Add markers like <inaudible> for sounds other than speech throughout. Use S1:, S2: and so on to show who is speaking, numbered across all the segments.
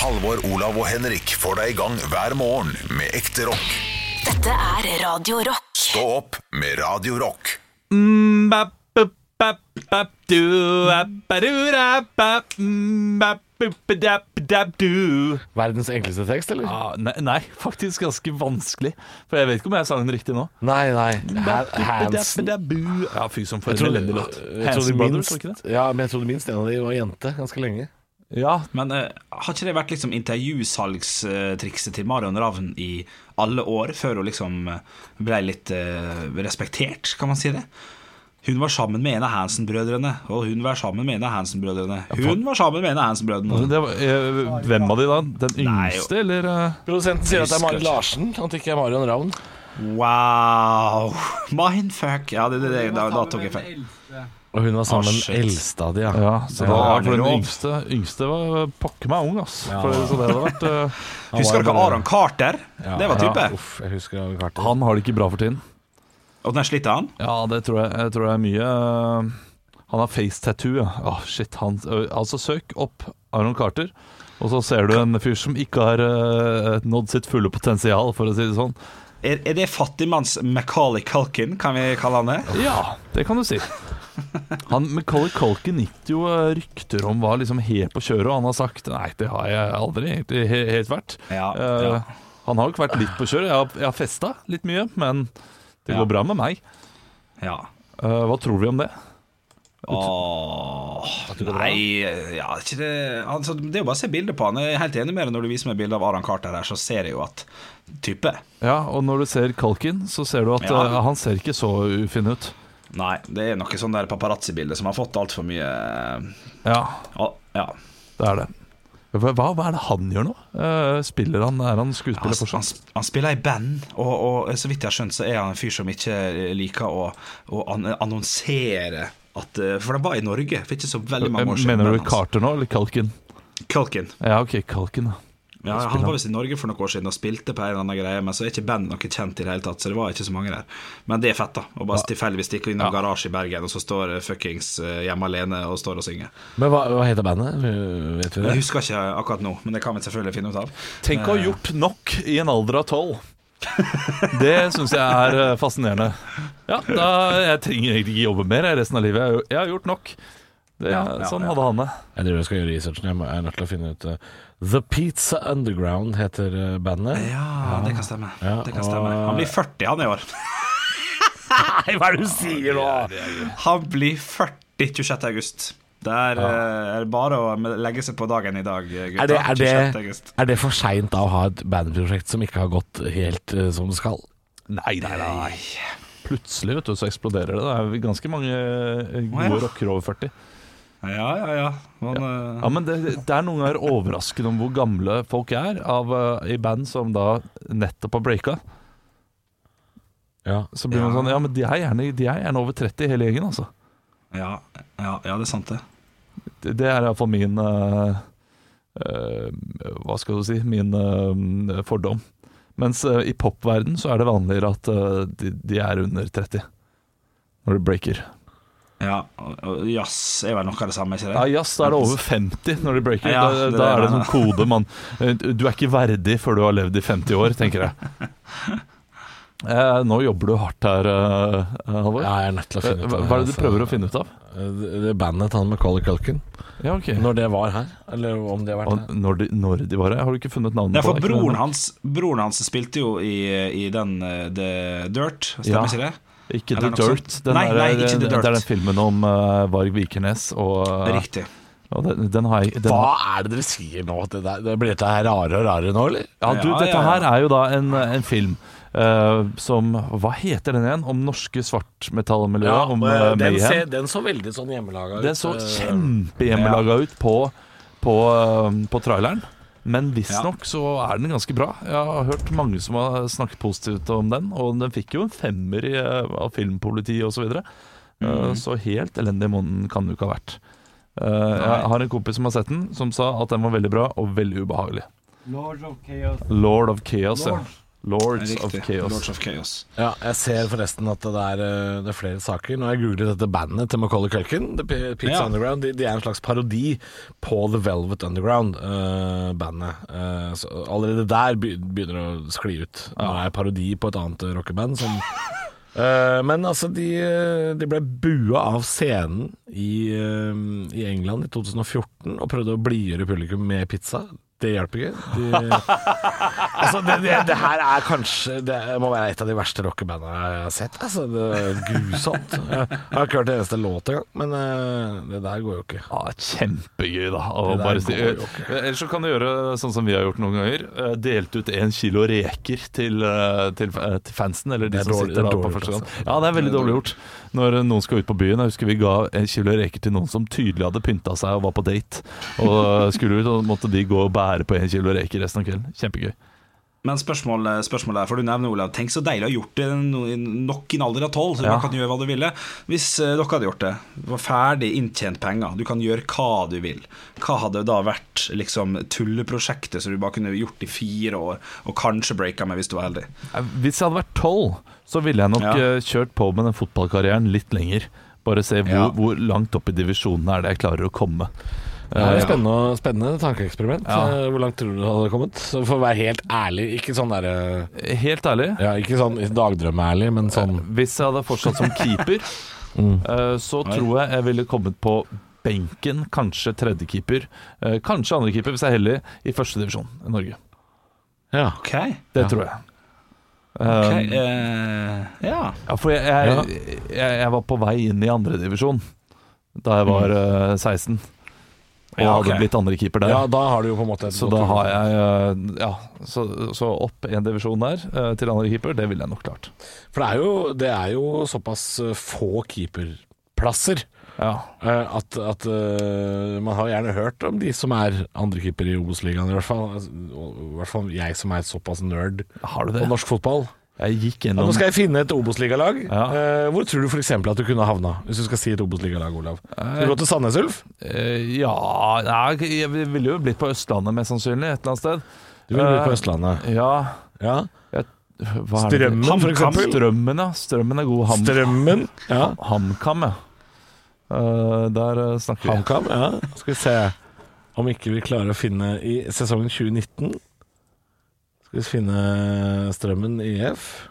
S1: Halvor, Olav og Henrik får deg i gang hver morgen med ekte rock.
S2: Dette er Radio Rock.
S1: Stå opp med Radio Rock.
S3: Bap, bup, bap, bap, du, ap, badu, da, bap, mm, bap, bup, badap, badap, du.
S4: Verdens enkleste tekst, eller?
S3: Ah, nei, nei, faktisk ganske vanskelig. For jeg vet ikke om jeg sang den riktig nå.
S4: Nei, nei. Ha-
S3: Bap, bup, badap,
S4: Hansen.
S3: badap, bu. Ja, fy som for
S4: Jeg
S3: en
S4: trodde-
S3: elendig låt.
S4: jeg trodde
S3: Hanson Brothers, var det ikke
S4: minst, ja, men jeg trodde minst en av de var jente ganske lenge.
S3: det? Ja,
S5: Men eh, har ikke det vært liksom intervjusalgstrikset til Marion Ravn i alle år, før hun liksom eh, ble litt eh, respektert, kan man si det? Hun var sammen med en av Hansen-brødrene, og hun var sammen med en av Hansen-brødrene. Hun var sammen med en av
S4: Altså,
S5: Hansen-brødrene.
S3: det var, eh, hvem av de da? Den
S5: Nei,
S3: yngste, eller? eh?
S4: Produsenten sier at det er Marit
S5: Husker.
S4: Larsen, at det ikke er Marion Ravn.
S5: Wow! <laughs> Mindfuck! Ja, det, det, det, da, da tok jeg feil.
S4: Og hun var sammen med
S5: Ah, shit.
S4: den eldste av de, ja.
S3: Ja, så da,
S5: Ja,
S3: for den
S5: Arnerov.
S3: yngste, yngste var pokker meg ung, ass. For, så det hadde vært eh,
S5: Husker dere Aron Carter?
S4: Ja,
S5: Det var type.
S4: ja, Uff, jeg husker det var kartet.
S3: Han har det ikke bra for tiden.
S5: Og den sliter han.
S3: Ja, det tror jeg, jeg tror det er mye eh, Han har face tattoo, ja. Åh, shit, han, ø, altså, søk opp Aron Carter, og så ser du en fyr som ikke har eh, nådd sitt fulle potensial, for å si det sånn.
S5: Er, er det fattigmanns Macauley Culkin, kan vi kalle han det?
S3: Ja, det kan du si. Han Macauley Culkin gikk jo eh, rykter om var liksom helt på kjøret, og han har sagt nei, det har jeg aldri egentlig he helt vært.
S5: Ja,
S3: Eh,
S5: ja.
S3: Han har jo ikke vært litt på kjøret. Jeg har, jeg har festa litt mye, men det
S5: Ja.
S3: går bra med meg.
S5: Ja.
S3: Eh, hva tror vi om det?
S5: Åh, nei ja, ikke det, altså, det er jo bare å se bilder på han. Jeg er helt enig med deg når du viser meg bilde av Aron Carter her, så ser jeg jo at Type.
S3: Ja, og når du ser Kalkin, så ser du at
S5: Ja.
S3: eh, han ser ikke så ufin ut.
S5: Nei, det er noe sånn der paparazzi-bilde som har fått altfor mye
S3: Ja,
S5: Å, Ja.
S3: det er det. Hva, hva hva er det han gjør nå? Eh, spiller han, Er han
S5: Han,
S3: skuespiller
S5: han,
S3: fortsatt?
S5: han spiller i band, og, og så vidt jeg har skjønt, så er han en fyr som ikke eh, liker å, å an annonsere at eh, For det var i Norge for ikke så veldig mange år siden.
S3: Eh, Mener du
S5: bandet hans.
S3: Carter nå, eller Kalkin?
S5: Culkin.
S3: Ja, ok, Kalkin, ja.
S5: Ja, han var visst i Norge for noen år siden og spilte på en eller annen greie, men så er ikke bandet noe kjent i det hele tatt, så det var ikke så mange der. Men det er fett, da. Å bare tilfeldigvis stikke innom garasje i Bergen, og så står eh, fuckings eh, hjemme alene og står og synger.
S4: Men hva, hva heter bandet? Vet vi det?
S5: Jeg husker ikke akkurat nå, men det kan vi selvfølgelig finne ut av.
S3: Tenk å ha gjort nok i en alder av tolv. <laughs> Det syns jeg er eh, fascinerende. Ja, da, Jeg trenger egentlig ikke jobbe mer jeg, resten av livet. Jeg har jo- Jeg har gjort nok. Det,
S5: Ja, ja,
S3: sånn
S5: ja.
S3: hadde han det.
S4: Jeg driver og skal gjøre researchen. Jeg må- jeg er nødt til å finne ut eh, The Pizza Underground heter eh, bandet.
S5: Ja, det kan stemme.
S4: Ja,
S5: det kan stemme.
S4: og-
S5: Han blir 40, han i år. <laughs>
S4: Nei, hva er det du sier nå?!
S5: Han blir 40 26. august. Det er, eh, er bare å legge seg på dagen i dag, eh, gutta.
S4: Er det, er det,
S5: 26. august.
S4: er det for seint å ha et bandprosjekt som ikke har gått helt eh, som det skal?
S3: Nei, nei, nei. Plutselig vet du, så eksploderer det. Det er ganske mange eh, gode
S5: Å, ja.
S3: rockere over 40.
S5: Ja, ja, ja. Men, eh,
S3: Ja, men det, det er noen ganger overraskende om hvor gamle folk er av, eh, i band som da nettopp har breaka.
S4: Ja.
S3: Så blir man sånn Ja, men de er gjerne, de er gjerne over 30 hele gjengen, altså.
S5: ja, ja, ja, det er sant, det.
S3: Det, det er iallfall min eh, eh, Hva skal du si Min eh, fordom. Mens eh, i popverden så er det vanligere at eh, de, de er under 30 når de breaker.
S5: Ja, og- og Jazz er vel noe av det samme, ikke det?
S3: Ja, jazz, da er det over 50 når de breaker.
S5: Ja,
S3: da,
S5: det
S3: da
S5: er
S3: er det
S5: det.
S3: sånn kode man eh, Du er ikke verdig før du har levd i 50 år, tenker <laughs> jeg. Eh, nå jobber du hardt her, eh, Halvor.
S4: ja, jeg er nødt til å
S3: Eh,
S4: finne ut
S3: hva, hva er det du prøver å finne ut av?
S4: Det, Eh, det bandet til han Macauley Culkin.
S3: Ja, ok
S4: Når det var her, eller om det har vært
S3: Og
S4: her.
S3: når de, når de var her? Har du ikke funnet navnet
S5: Ja, for
S3: på det? Ikke
S5: broren
S3: noe-
S5: hans, broren hans spilte jo i, i den eh, The Dirt,
S3: Ja.
S5: stemmer ikke det?
S3: Ikke The
S5: Eller noe
S3: Dirt.
S5: sånt.
S3: Den
S5: Nei,
S3: er,
S5: nei, ikke The Dirt.
S3: Det er den filmen om eh, Varg Vikernes. Og, eh,
S5: Det er riktig.
S3: og den, den har jeg den,
S4: Hva er det dere sier nå? Det, der, det Blir dette her rarere og rarere nå, eller?
S3: Ja, du,
S5: Ja,
S3: dette
S5: ja, ja.
S3: her er jo da en, en film eh, som Hva heter den igjen? Om norske svartmetallmiljøet? om eh,
S4: den,
S3: Mayhem.
S4: så veldig sånn hjemmelaga ut.
S3: Den så
S5: eh,
S3: kjempehjemmelaga ut på, på, eh, på traileren. Men visstnok så er den ganske bra. Jeg har hørt mange som har snakket positivt om den. Og den fikk jo en femmer i, eh, av filmpolitiet osv. Så, videre.
S5: Mm.
S3: Eh, så helt elendig i måneden kan det jo ikke ha vært. Eh, jeg har en kompis som har sett den, som sa at den var veldig bra og veldig ubehagelig.
S6: Lord of Chaos.
S3: Lord of Chaos, ja.
S6: Lord.
S3: Lords
S5: Riktig.
S3: of Chaos.
S5: Lords of Chaos.
S4: Ja, jeg ser forresten at det er, eh, det er flere saker. Når jeg googler dette bandet til Macaulay Culkin, The P- Pizza
S5: Ja.
S4: Underground, de, de er en slags parodi på The Velvet Underground-bandet. Eh, så allerede der be- begynner det å skli ut. Nå er jeg parodi på et annet eh, rockeband som <laughs> Eh, Men altså, de, eh, de ble bua av scenen i, eh, i England i 2014 og prøvde å blidgjøre publikum med pizza. Det hjalp ikke. De, altså, det, det, det her er kanskje Det må være et av de verste rockebandene jeg har sett. Altså, det er grusomt. Jeg har ikke hørt en eneste låt engang, men eh, det der går jo ikke.
S3: Ja, kjempegøy, da. Å
S4: Det der
S3: bare si, Eh,
S4: går jo ikke.
S3: ellers så kan du gjøre sånn som vi har gjort noen ganger. eh, Delt ut én kilo reker til, eh, til, eh, til fansen, eller de
S4: Det er
S3: som
S4: dårlig-
S3: sitter
S4: det er
S3: da på
S4: dårlig altså.
S3: første
S4: gjort,
S3: gang. Ja, det er veldig dårlig gjort. Når eh, noen skal ut på byen. Jeg husker vi ga en kilo reker til noen som tydelig hadde pynta seg og var på date. Og eh, skulle ut, og måtte de gå og bære på en kilo reker resten av kvelden. Kjempegøy.
S5: Men spørsmålet, spørsmålet er, for du nevner Olav Tenk så deilig å ha gjort det no- i- nok i en alder av tolv. Så
S3: Ja.
S5: man kan gjøre hva du ville. Hvis eh, dere hadde gjort det, var ferdig inntjent penger, du kan gjøre hva du vil. Hva hadde da vært liksom, tulleprosjektet som du bare kunne gjort i fire år, og kanskje breaka med hvis du var heldig?
S3: Eh, Hvis jeg hadde vært tolv, så ville jeg nok
S5: Ja.
S3: eh, kjørt på med den fotballkarrieren litt lenger. Bare se hvor,
S5: Ja.
S3: hvor langt opp i divisjonene er det jeg klarer å komme.
S4: Det er
S3: Eh,
S4: et spennende, spennende tankeeksperiment.
S3: Ja.
S4: Eh, Hvor langt tror du det hadde kommet? Så For å være helt ærlig, ikke sånn derre
S3: Eh, Helt ærlig,
S4: ja, Ikke sånn dagdrømmeærlig, men sånn
S3: hvis jeg hadde fortsatt som keeper, eh, så tror jeg jeg ville kommet på benken, kanskje tredjekeeper, eh, kanskje andrekeeper, hvis jeg er heldig, i første divisjon i Norge.
S4: Ja.
S5: Ok,
S3: Det
S4: Ja.
S3: tror jeg.
S5: ok,
S3: Eh,
S5: eh, Ja.
S3: ja, for jeg, jeg, jeg, jeg var på vei inn i andredivisjon da jeg var eh, 16, og
S5: Ja, ok.
S3: hadde blitt andrekeeper der.
S4: ja, da har du jo på en måte et
S3: Så
S4: godt
S3: da har
S4: utgangspunkt.
S3: jeg eh, Ja, så, så opp en divisjon der eh, til andre keeper, det ville jeg nok klart.
S4: For det er, jo, det er jo såpass eh, få keeperplasser
S3: Ja.
S4: eh, at, at eh, man har gjerne hørt om de som er andrekeeper i Obos-ligaen, i hvert fall. Altså, og- I hvert fall jeg som er såpass nerd
S3: Har du det?
S4: på norsk fotball.
S3: Jeg gikk
S4: Ja,
S3: gjennom
S4: nå skal jeg finne et Obos-ligalag.
S3: Ja.
S4: Eh, hvor tror du f.eks. at du kunne havna, hvis du skal si et Obos-ligalag, Olav? Skal du gå til Sandnes Ulf?
S3: Eh, Ja nei, Jeg ville jo blitt på Østlandet, mest sannsynlig, et eller annet sted.
S4: Du ville blitt
S3: Eh,
S4: på Østlandet.
S3: Ja
S4: Ja.
S3: jeg, hva er det?
S4: Strømmen,
S5: HamKam.
S4: f.eks.
S3: Strømmen, ja. Strømmen er god. Ham,
S4: Strømmen. Ja.
S3: HamKam, ja. Eh, der eh, snakker vi.
S4: HamKam, ja. Skal vi se om ikke vi klarer å finne i sesongen 2019 Skal vi finne Strømmen IF.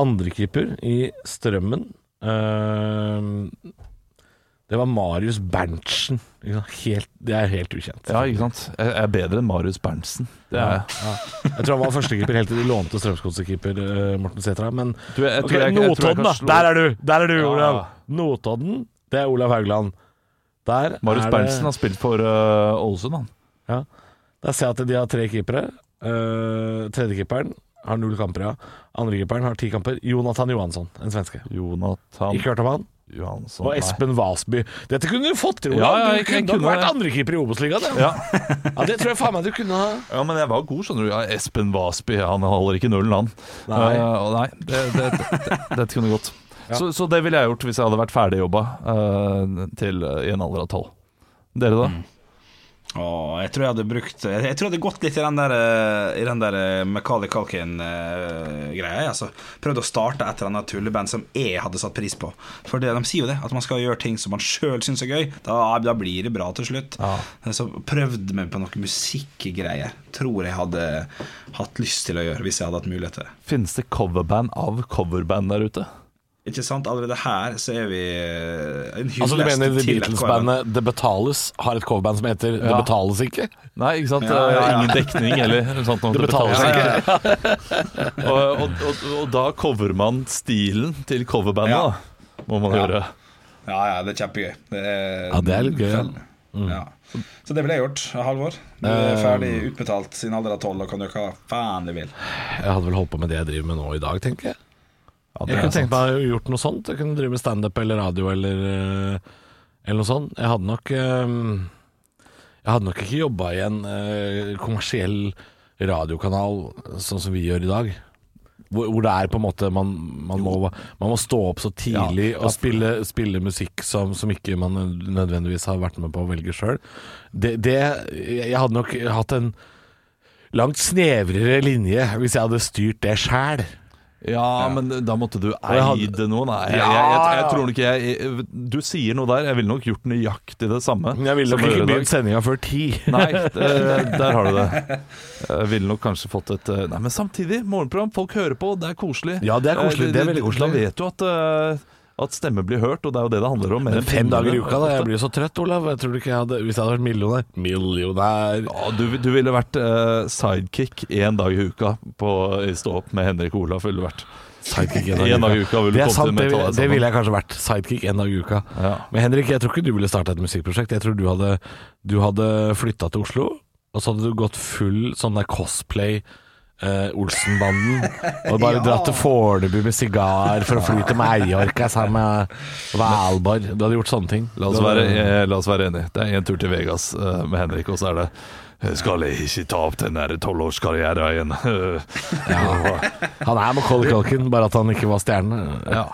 S4: Andrekeeper i Strømmen. Ehm, det var Marius Berntsen. Ikke sant? Helt, det er helt ukjent.
S3: Ja, ikke sant. Jeg jeg er bedre enn Marius Berntsen. Det er jeg.
S4: Jeg tror han var førstekeeper helt til de lånte Strømsgodset-keeper eh, Morten Sætra. Men
S3: Du, jeg- jeg
S4: Ok,
S3: tror jeg- jeg tror jeg
S4: Notodden,
S3: kan
S4: da!
S3: slå-
S4: Der er du, der er du
S3: Ja.
S4: Olav. Notodden, det er Olav Haugland. Der
S3: Marius
S4: er det-
S3: Berntsen har spilt for eh, Ålesund, han.
S4: Ja. Da ser jeg at de har tre keepere. Uh, Tredjekeeperen har null kamper, ja. Andrekeeperen har ti kamper. Jonathan Johansson, en svenske.
S3: Jonathan
S4: Ikke hørt om han. Sånn,
S3: Johansson.
S4: Og
S3: nei.
S4: Espen Wasby. Dette kunne du fått til,
S3: Ja,
S4: Olav.
S3: ja,
S4: du
S3: jeg- jeg
S4: kunne,
S3: kunne
S4: vært
S3: det.
S4: andrekeeper i Obos-ligaen.
S3: Ja.
S4: Ja. Ja, det tror jeg faen meg du kunne ha.
S3: ja, men jeg var god, skjønner du. Ja, Espen Wasby, han holder ikke nullen, han.
S4: Nei.
S3: Eh, og nei det, det, det, det, dette kunne gått. Så, så det ville jeg gjort hvis jeg hadde vært ferdig jobba eh, til, eh, i en alder av tolv. Dere,
S4: Mm.
S3: da?
S5: Åh, jeg tror jeg hadde brukt Jeg, jeg tror jeg hadde gått litt i den der, eh, i den der eh, Macaulay Culkin-greia. jeg, altså. Prøvd å starte et eller annet tulleband som jeg hadde satt pris på. For det, de sier jo det, at man skal gjøre ting som man sjøl syns er gøy. Da, da blir det bra til slutt. Eh, Så prøvde meg på noe musikkgreier. Tror jeg hadde hatt lyst til å gjøre, hvis jeg hadde hatt mulighet til det.
S3: Finnes det coverband av coverband der ute?
S5: Ikke sant? Allerede her så er vi eh, en
S4: Altså Du
S5: hyllest
S4: mener The
S5: til et coverband.
S4: Beatles-bandet Det Betales har et coverband som heter Det
S3: Ja.
S4: Betales ikke?
S3: Nei, ikke sant?
S5: Ja, ja, ja.
S3: Eh, Ingen dekning eller noe sånt. noe.
S4: Det betales
S3: betaler-
S4: ikke.
S3: Ja, ja, ja. og, og, og, og da cover man stilen til coverbandet,
S5: Ja.
S3: da. Må man gjøre.
S5: Ja, ja, det er kjempegøy. Det er,
S4: Ja, det er litt gøy, ja. Mm.
S5: Ja. Så det ville jeg gjort. Halvor, du
S4: Eh,
S5: er ferdig utbetalt siden alder av tolv og kan gjøre hva faen du vil.
S4: Jeg hadde vel holdt på med det jeg driver med nå i dag, tenker jeg.
S3: Ja, det
S4: Jeg
S3: er
S4: kunne
S3: sant.
S4: tenkt meg å gjort noe sånt. Jeg kunne drive med standup eller radio eller, eh, eller noe sånt. Jeg hadde nok eh, Jeg hadde nok ikke jobba i en eh, kommersiell radiokanal sånn som vi gjør i dag. Hvor, hvor det er på en måte man, man, må, man må stå opp så tidlig og spille, spille musikk som, som ikke man nødvendigvis har vært med på å velge sjøl. Det, det Jeg hadde nok hatt en langt snevrere linje hvis jeg hadde styrt det sjæl.
S3: Ja, men da måtte du
S4: jeg
S3: eie
S4: hadde-
S3: det nå, nei. Jeg, jeg,
S4: Ja,
S3: jeg, jeg
S4: ja.
S3: tror nok jeg, jeg Du sier noe der. Jeg ville nok gjort nøyaktig det samme.
S4: Men jeg ville
S3: som
S4: nok
S3: jeg gjør
S4: ikke
S3: i dag.
S4: begynt sendinga før ti.
S3: Nei, det, der har du det. Jeg ville nok kanskje fått et eh, Nei, men samtidig, morgenprogram, folk hører på, det er koselig.
S4: Ja, det er koselig,
S3: Eh,
S4: det er veldig koselig.
S3: Da vet du at, eh, at stemme blir hørt, og det er jo det det handler om. mer
S4: Men
S3: enn
S4: <laughs> fem
S3: pengene.
S4: dager i uka, da. Jeg blir jo så trøtt, Olav. Jeg tror ikke jeg hadde, Hvis jeg hadde vært millionær Millionær!
S3: Ja, du, du ville vært eh, sidekick én dag i uka på i Stå opp med Henrik og Olaf. ville du vært
S4: Sidekick
S3: En dag i uka vil du
S4: Det
S3: komme
S4: er
S3: til
S4: sant, det,
S3: med
S4: vil-
S3: toalett
S4: det
S3: sammen.
S4: ville jeg kanskje vært. Sidekick en dag i uka.
S3: Ja.
S4: Men Henrik, jeg tror ikke du ville starta et musikkprosjekt. Jeg tror du hadde, du hadde flytta til Oslo, og så hadde du gått full sånn der cosplay. eh,
S3: <laughs>
S4: Olsenbanden. Og bare dratt til Fornebu med sigar for å fly til Meiorka sammen med Valborg. Du hadde gjort sånne ting.
S3: La oss, være, eh, la oss være enige. Det er en tur til Vegas eh, med Henrik, og så er det «Jeg skal ikke ta opp den der tolvårskarrieren igjen. <laughs>
S4: Han er Macauley Culkin, bare at han ikke var stjerne.
S3: ja.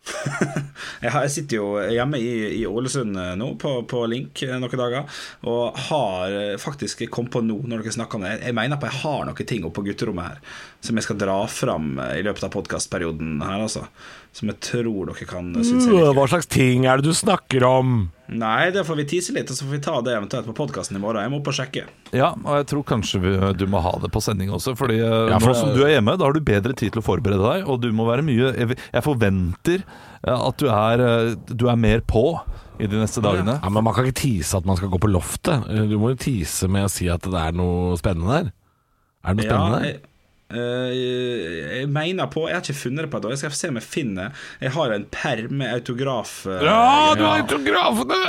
S7: <laughs> Jeg har- jeg sitter jo hjemme i, i Ålesund eh, nå, på, på Link eh, noen dager, og har eh, faktisk jeg kom på nå når dere snakker om det. Jeg, jeg mener på jeg har noen ting oppe på gutterommet her som jeg skal dra fram eh, i løpet av podkastperioden her, altså. Som jeg tror dere kan eh, synes er
S4: Øh,
S7: litt
S4: Hva slags ting er det du snakker om?
S7: Nei, det får vi tise litt, og så får vi ta det eventuelt på podkasten i morgen. Jeg må opp og sjekke.
S3: ja, og jeg tror kanskje vi, eh, du må ha det på sending også, fordi eh,
S4: Ja, for-
S3: nå som du er hjemme, da har du bedre tid til å forberede deg, og du må være mye Jeg, jeg forventer eh, at du er, eh, du er mer på i de neste dagene.
S4: Ja, men Man kan ikke tease at man skal gå på loftet. Du må jo tease med å si at det er noe spennende der. Er det noe spennende der?
S7: jeg, eh, jeg mener på Jeg har ikke funnet det på et år. Jeg skal se om jeg finner Jeg har jo en perm med autograf. eh, greier.
S4: autografene!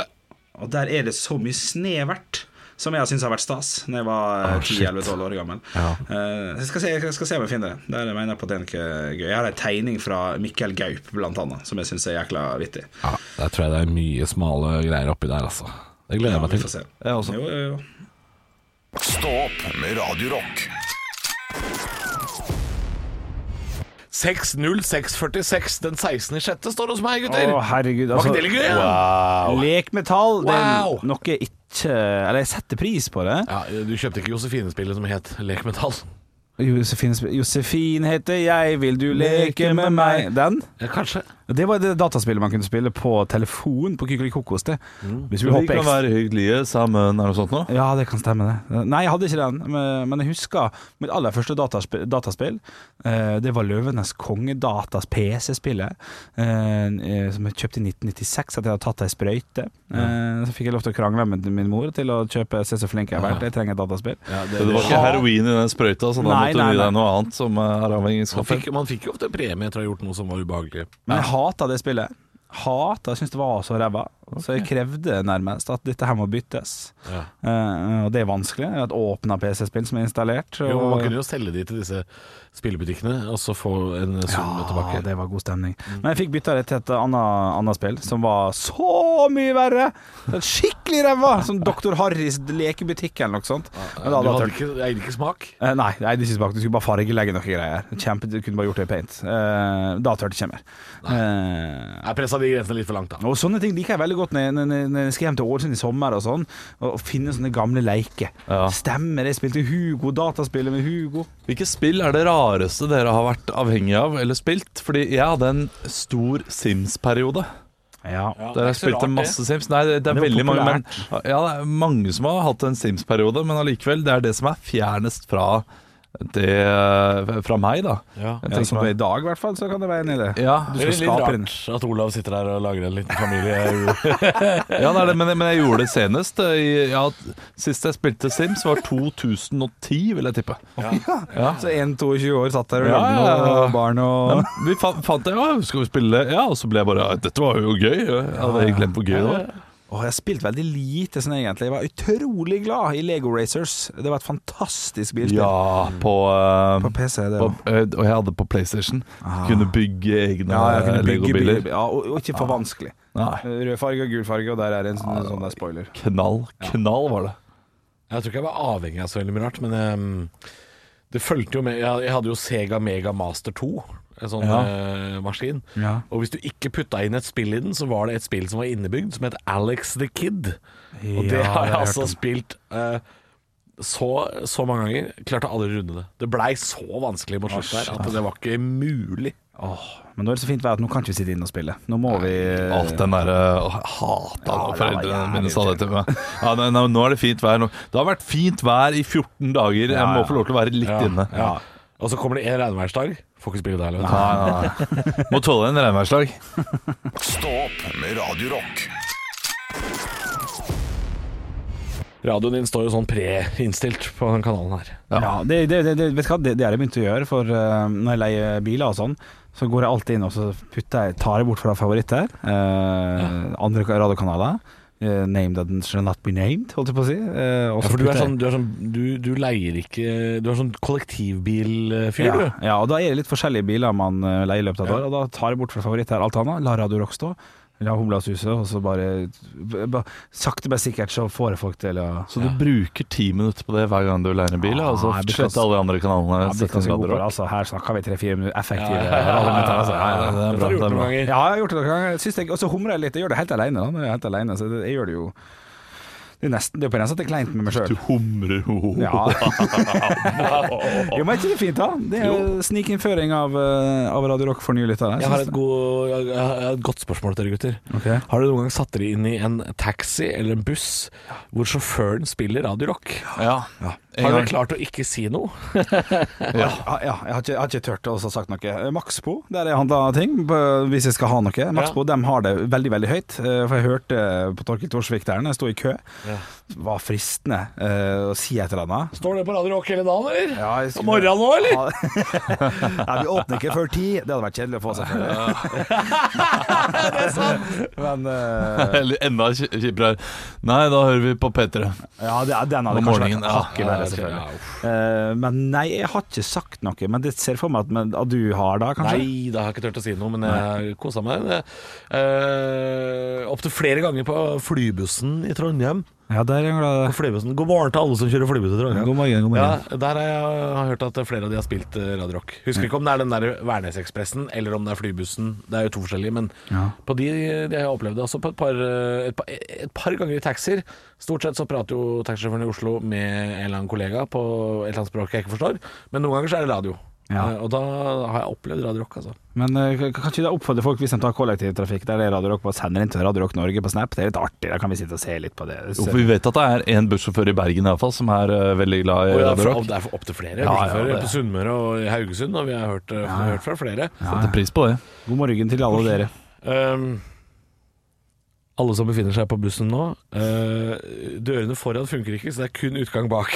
S7: Og der er det så mye snevert som jeg syns har vært stas Når jeg var
S4: Ah, shit.
S7: 10-11-12 år gammel.
S4: Ja.
S7: Eh, jeg, skal se, jeg skal se om jeg finner det. Der mener jeg på at det er noe gøy. Jeg har ei tegning fra Mikkel Gaup, blant annet, som jeg syns er jækla vittig.
S4: Ja, Der tror jeg det er mye smale greier oppi der, altså. Det gleder jeg meg
S7: vi
S4: til.
S7: får se.
S3: Jeg også.
S7: Jo, jo, jo.
S1: Stå opp med Radio Rock.
S4: 60646 den 16. i sjette står hos meg, gutter.
S5: Å, herregud.
S4: Var
S5: Altså,
S4: ikke det litt gøy? ja?
S5: lekmetall, det er
S4: Wow.
S5: noe jeg ikke Eller jeg setter pris på det.
S4: Ja, Du kjøpte ikke Josefine-spillet som het Lekmetall?
S5: Josefin, Josefin heter jeg, vil du leke med meg? Den?
S4: Ja, kanskje.
S5: Det var det dataspillet man kunne spille på telefon på Kykelikokos. Mm. det. Hvis
S3: Vi
S5: vi hopper
S3: kan
S5: ekstra
S3: være hyggelige sammen, er det noe sånt nå?
S5: Ja, det kan stemme det. Nei, jeg hadde ikke den, men men jeg husker mitt aller første dataspill. dataspill eh, det var Løvenes konge, datas PC-spillet, eh, eh, som jeg kjøpte i 1996, at jeg hadde tatt ei sprøyte. Eh, så fikk jeg lov til å krangle med min mor til å kjøpe Se så flink jeg har vært, jeg trenger et dataspill.
S3: Det var ikke heroin i den sprøyta, så da
S5: Nei,
S3: måtte du
S5: nei,
S3: gi
S5: nei.
S3: deg noe annet som eh, er avhengig av
S4: Man fikk, man fikk jo ofte premie etter å ha gjort noe som var ubehagelig.
S5: Men jeg hata det spillet. Hata, jeg syntes det var så ræva. Så jeg krevde nærmest at dette her må byttes.
S4: Ja.
S5: Eh, og det er vanskelig. Jeg har et åpna PC-spill som er installert.
S4: Jo, men
S5: og-
S4: man kunne jo selge de til disse spillebutikkene, og så få en sum tilbake. Mm.
S5: det var god stemning. Men jeg fikk bytta det til et annet, annet spill, som var så mye verre! Det er Skikkelig ræva! Som Dr. Harrys lekebutikk eller noe sånt. Men da
S4: du
S5: hadde jeg
S4: hadde
S5: tørt.
S4: ikke, jeg hadde ikke smak?
S5: Eh, Nei, nei, du synes bare at du skulle bare fargelegge noen greier. Kjempe, du kunne bare gjort det i paint. Eh, da tør det ikke mer. Eh,
S4: Jeg pressa de grensene litt for langt, da.
S5: og Sånne ting liker jeg veldig godt når jeg, når jeg- når jeg skal hjem til Ålesund i sommer og sånn. Og finne sånne gamle leker.
S3: Ja.
S5: Stemmer, jeg spilte Hugo, dataspillet med Hugo.
S3: Hvilke spill er det rareste dere har vært avhengig av eller spilt? Fordi jeg hadde en stor Sims-periode.
S5: Ja.
S3: Der jeg spilte masse Sims. Nei, det, det er
S5: Det er jo
S3: veldig mange men, Ja, det er mange som har hatt en Sims-periode, men allikevel, det er det som er fjernest fra det Fra meg, da.
S4: Ja.
S3: Jeg
S5: Ja,
S3: tenker
S5: som
S3: meg-
S5: i dag, i hvert fall, så kan det være en idé.
S3: Ja,
S5: Du
S4: Det
S5: skal
S4: er litt
S5: skape den.
S4: rart at Olav sitter der og lager en liten familie.
S3: ja det er det, men, men jeg gjorde det senest. eh, i- Ja, sist jeg spilte Sims, var 2010, vil jeg tippe.
S5: Ja. Så en 22 år satt der og
S3: Ja,
S5: lagde
S3: ja, ja.
S5: noe barn og
S3: Men vi fa fant det, ja, skal vi spille Ja, og så ble jeg bare ja, Dette var jo gøy. Jeg hadde helt glemt hvor gøy det var.
S5: Åh, Jeg har spilt veldig lite sånn egentlig. Jeg var utrolig glad i Lego Racers. Det var et fantastisk bilspill.
S3: Ja, på, eh,
S5: På PC, det
S3: på,
S5: òg.
S3: eh, Og jeg hadde på PlayStation. Kunne bygge egne
S5: Ja, jeg kunne bygge biler.
S3: legobiler.
S5: Ja, og, og ikke for vanskelig.
S3: Nei.
S5: Rød farge og gul farge, og der er det en sånn, sånn der spoiler.
S3: Knall, knall var det.
S4: <laughs> Jeg tror ikke jeg var avhengig av så veldig mye rart, men ehm, det fulgte jo med Jeg, jeg hadde jo Sega Mega Master 2, en sånn eh, maskin.
S5: Ja.
S4: Og hvis du ikke putta inn et spill i den, så var det et spill som var innebygd, som het Alex the Kid. Og det har
S5: Ja, det
S4: jeg
S5: har jeg hørt
S4: altså
S5: om.
S4: spilt eh, så, så mange ganger. Klarte aldri å runde det. Det blei så vanskelig mot slutt der at det var ikke mulig.
S5: Åh, men nå er det så fint vær at nå kan ikke vi sitte inne og spille. Nå må vi
S3: Alt den derre Hata da
S5: det var
S3: foreldrene
S5: jævlig
S3: mine sa det til meg. Ja, nei, nei, nå er det fint vær. Nå. Det har vært fint vær i 14 dager. Jeg må få lov til å være litt inne.
S4: Ja. Og så kommer det en regnværsdag. Får ikke spille der. vet du.
S3: Nei, nei, nei. Må tåle en regnværsdag.
S1: Stå opp med Radio Rock.
S4: Radioen din står jo sånn pre-innstilt på den kanalen her.
S5: Ja, det, det, det, vet du hva? det, det har jeg begynt å gjøre, for eh, når jeg leier biler og sånn, så går jeg alltid inn og så putter jeg, tar jeg bort fra favoritter. eh, Andre radiokanaler. eh, name that shall not be named, holdt jeg på å si. eh, og
S4: Ja,
S5: så
S4: for du er
S5: putter jeg-
S4: sånn, du, er sånn du, du leier ikke Du er sånn kollektivbilfyr,
S5: ja,
S4: du.
S5: ja, og da er det litt forskjellige biler man eh, leier i løpet av et år, og da tar jeg bort fra favoritt her alt annet, la Radio Rock stå, la Humlahuset, og så bare, bare Sakte, men sikkert så får jeg folk til å
S3: Så du bruker ti minutter på det hver gang du leier en bil?
S5: Ja,
S3: Og så
S5: jeg blir
S3: slette
S5: ganske-
S3: alle de andre kanalene?
S5: ja, bli
S3: sette inn
S5: ganske god på
S3: Radio
S5: det.
S3: Rock.
S5: Altså, her snakker vi tre-fire minutter effektive
S3: minutter,
S5: radiominutter.
S3: altså. Ja, ja, det er
S4: Dette har du
S3: bra, det
S4: gjort
S3: er
S4: noen
S3: bra.
S4: ganger.
S5: Ja, jeg har gjort det noen ganger. Syns jeg- Og så humrer jeg litt. Jeg gjør det helt alene, da. Når jeg er helt alene så det, jeg gjør det jo Det er, nesten, det er på grensa til kleint med meg sjøl. <laughs>
S3: Du humrer ho.
S5: Ja. jo, men er ikke det fint, da? Det er jo snikinnføring av, eh, av Radio Rock for nye lyttere.
S4: Jeg har, et god, jeg, jeg har et godt spørsmål til dere gutter.
S5: Ok.
S4: Har dere noen gang satt dere inn i en taxi eller en buss hvor sjåføren spiller radiorock?
S3: Ja. En
S4: Har dere
S3: gang.
S4: klart å ikke si noe?
S5: Ja, ja, jeg har ikke, jeg har ikke tørt å også sagt noe. Eh, Maxbo, der jeg handla ting på- hvis jeg skal ha noe. Maxbo de har det veldig veldig høyt. eh, For jeg hørte på Torkild Torsvik der når jeg sto i kø. Var fristende eh, å si et eller annet.
S4: Står det på radiorock hele dagen, eller?
S5: Ja, jeg
S4: Om
S5: skulle-
S4: morgenen nå, eller?
S5: Ja. <laughs> Nei, vi åpner ikke før ti. Det hadde vært kjedelig å få seg før. <laughs> Men eh,
S3: Eller enda kj- kjipere. Nei, da hører vi på P3.
S5: Ja, det, den hadde
S3: Om
S5: kanskje
S3: morgenen,
S5: vært
S3: ja.
S5: hakket verre,
S4: ok,
S5: selvfølgelig.
S4: ja,
S5: Eh, men nei, jeg har ikke sagt noe. Men det ser jeg for meg at, men, at du har da, kanskje?
S4: Nei, da har jeg ikke turt å si noe, men jeg kosa meg. Uh, Opptil flere ganger på flybussen i Trondheim.
S5: Ja, der er jeg glad.
S4: På flybussen. God morgen til alle som kjører flybuss i Trondheim.
S5: God morgen, god morgen.
S4: Ja, der har jeg har hørt at flere av de har spilt eh, Radio Rock. Husker ikke om det er den der Værnesekspressen eller om det er flybussen. Det er jo to forskjellige, men
S5: Ja.
S4: på de, de har jeg opplevd det. Altså på et par, eh, et, par, et par ganger i taxier. Stort sett så prater jo taxisjåføren i Oslo med en eller annen kollega på et eller annet språk jeg ikke forstår, men noen ganger så er det radio.
S5: Ja.
S4: Eh, Og da har jeg opplevd Radio Rock, altså.
S5: Men eh, kan kan ikke du oppfordre folk hvis de tar kollektivtrafikk der det er Radio Rock, på å sende inn til Radio Rock Norge på Snap? Det er litt artig, da kan vi sitte og se litt på det.
S3: Jo, for vi vet at det er en bussjåfør i Bergen i hvert fall som er eh, veldig glad i
S4: Og det er
S3: Radio
S4: for-
S3: Rock.
S4: det er for opptil flere
S3: ja,
S4: bussjåfører
S3: det er-
S4: på Sunnmøre og i Haugesund, og vi har hørt, eh, hørt fra flere.
S3: Setter pris på det.
S5: God morgen til alle dere.
S4: Ehm, alle som befinner seg på bussen nå, eh, dørene foran funker ikke, så det er kun utgang bak.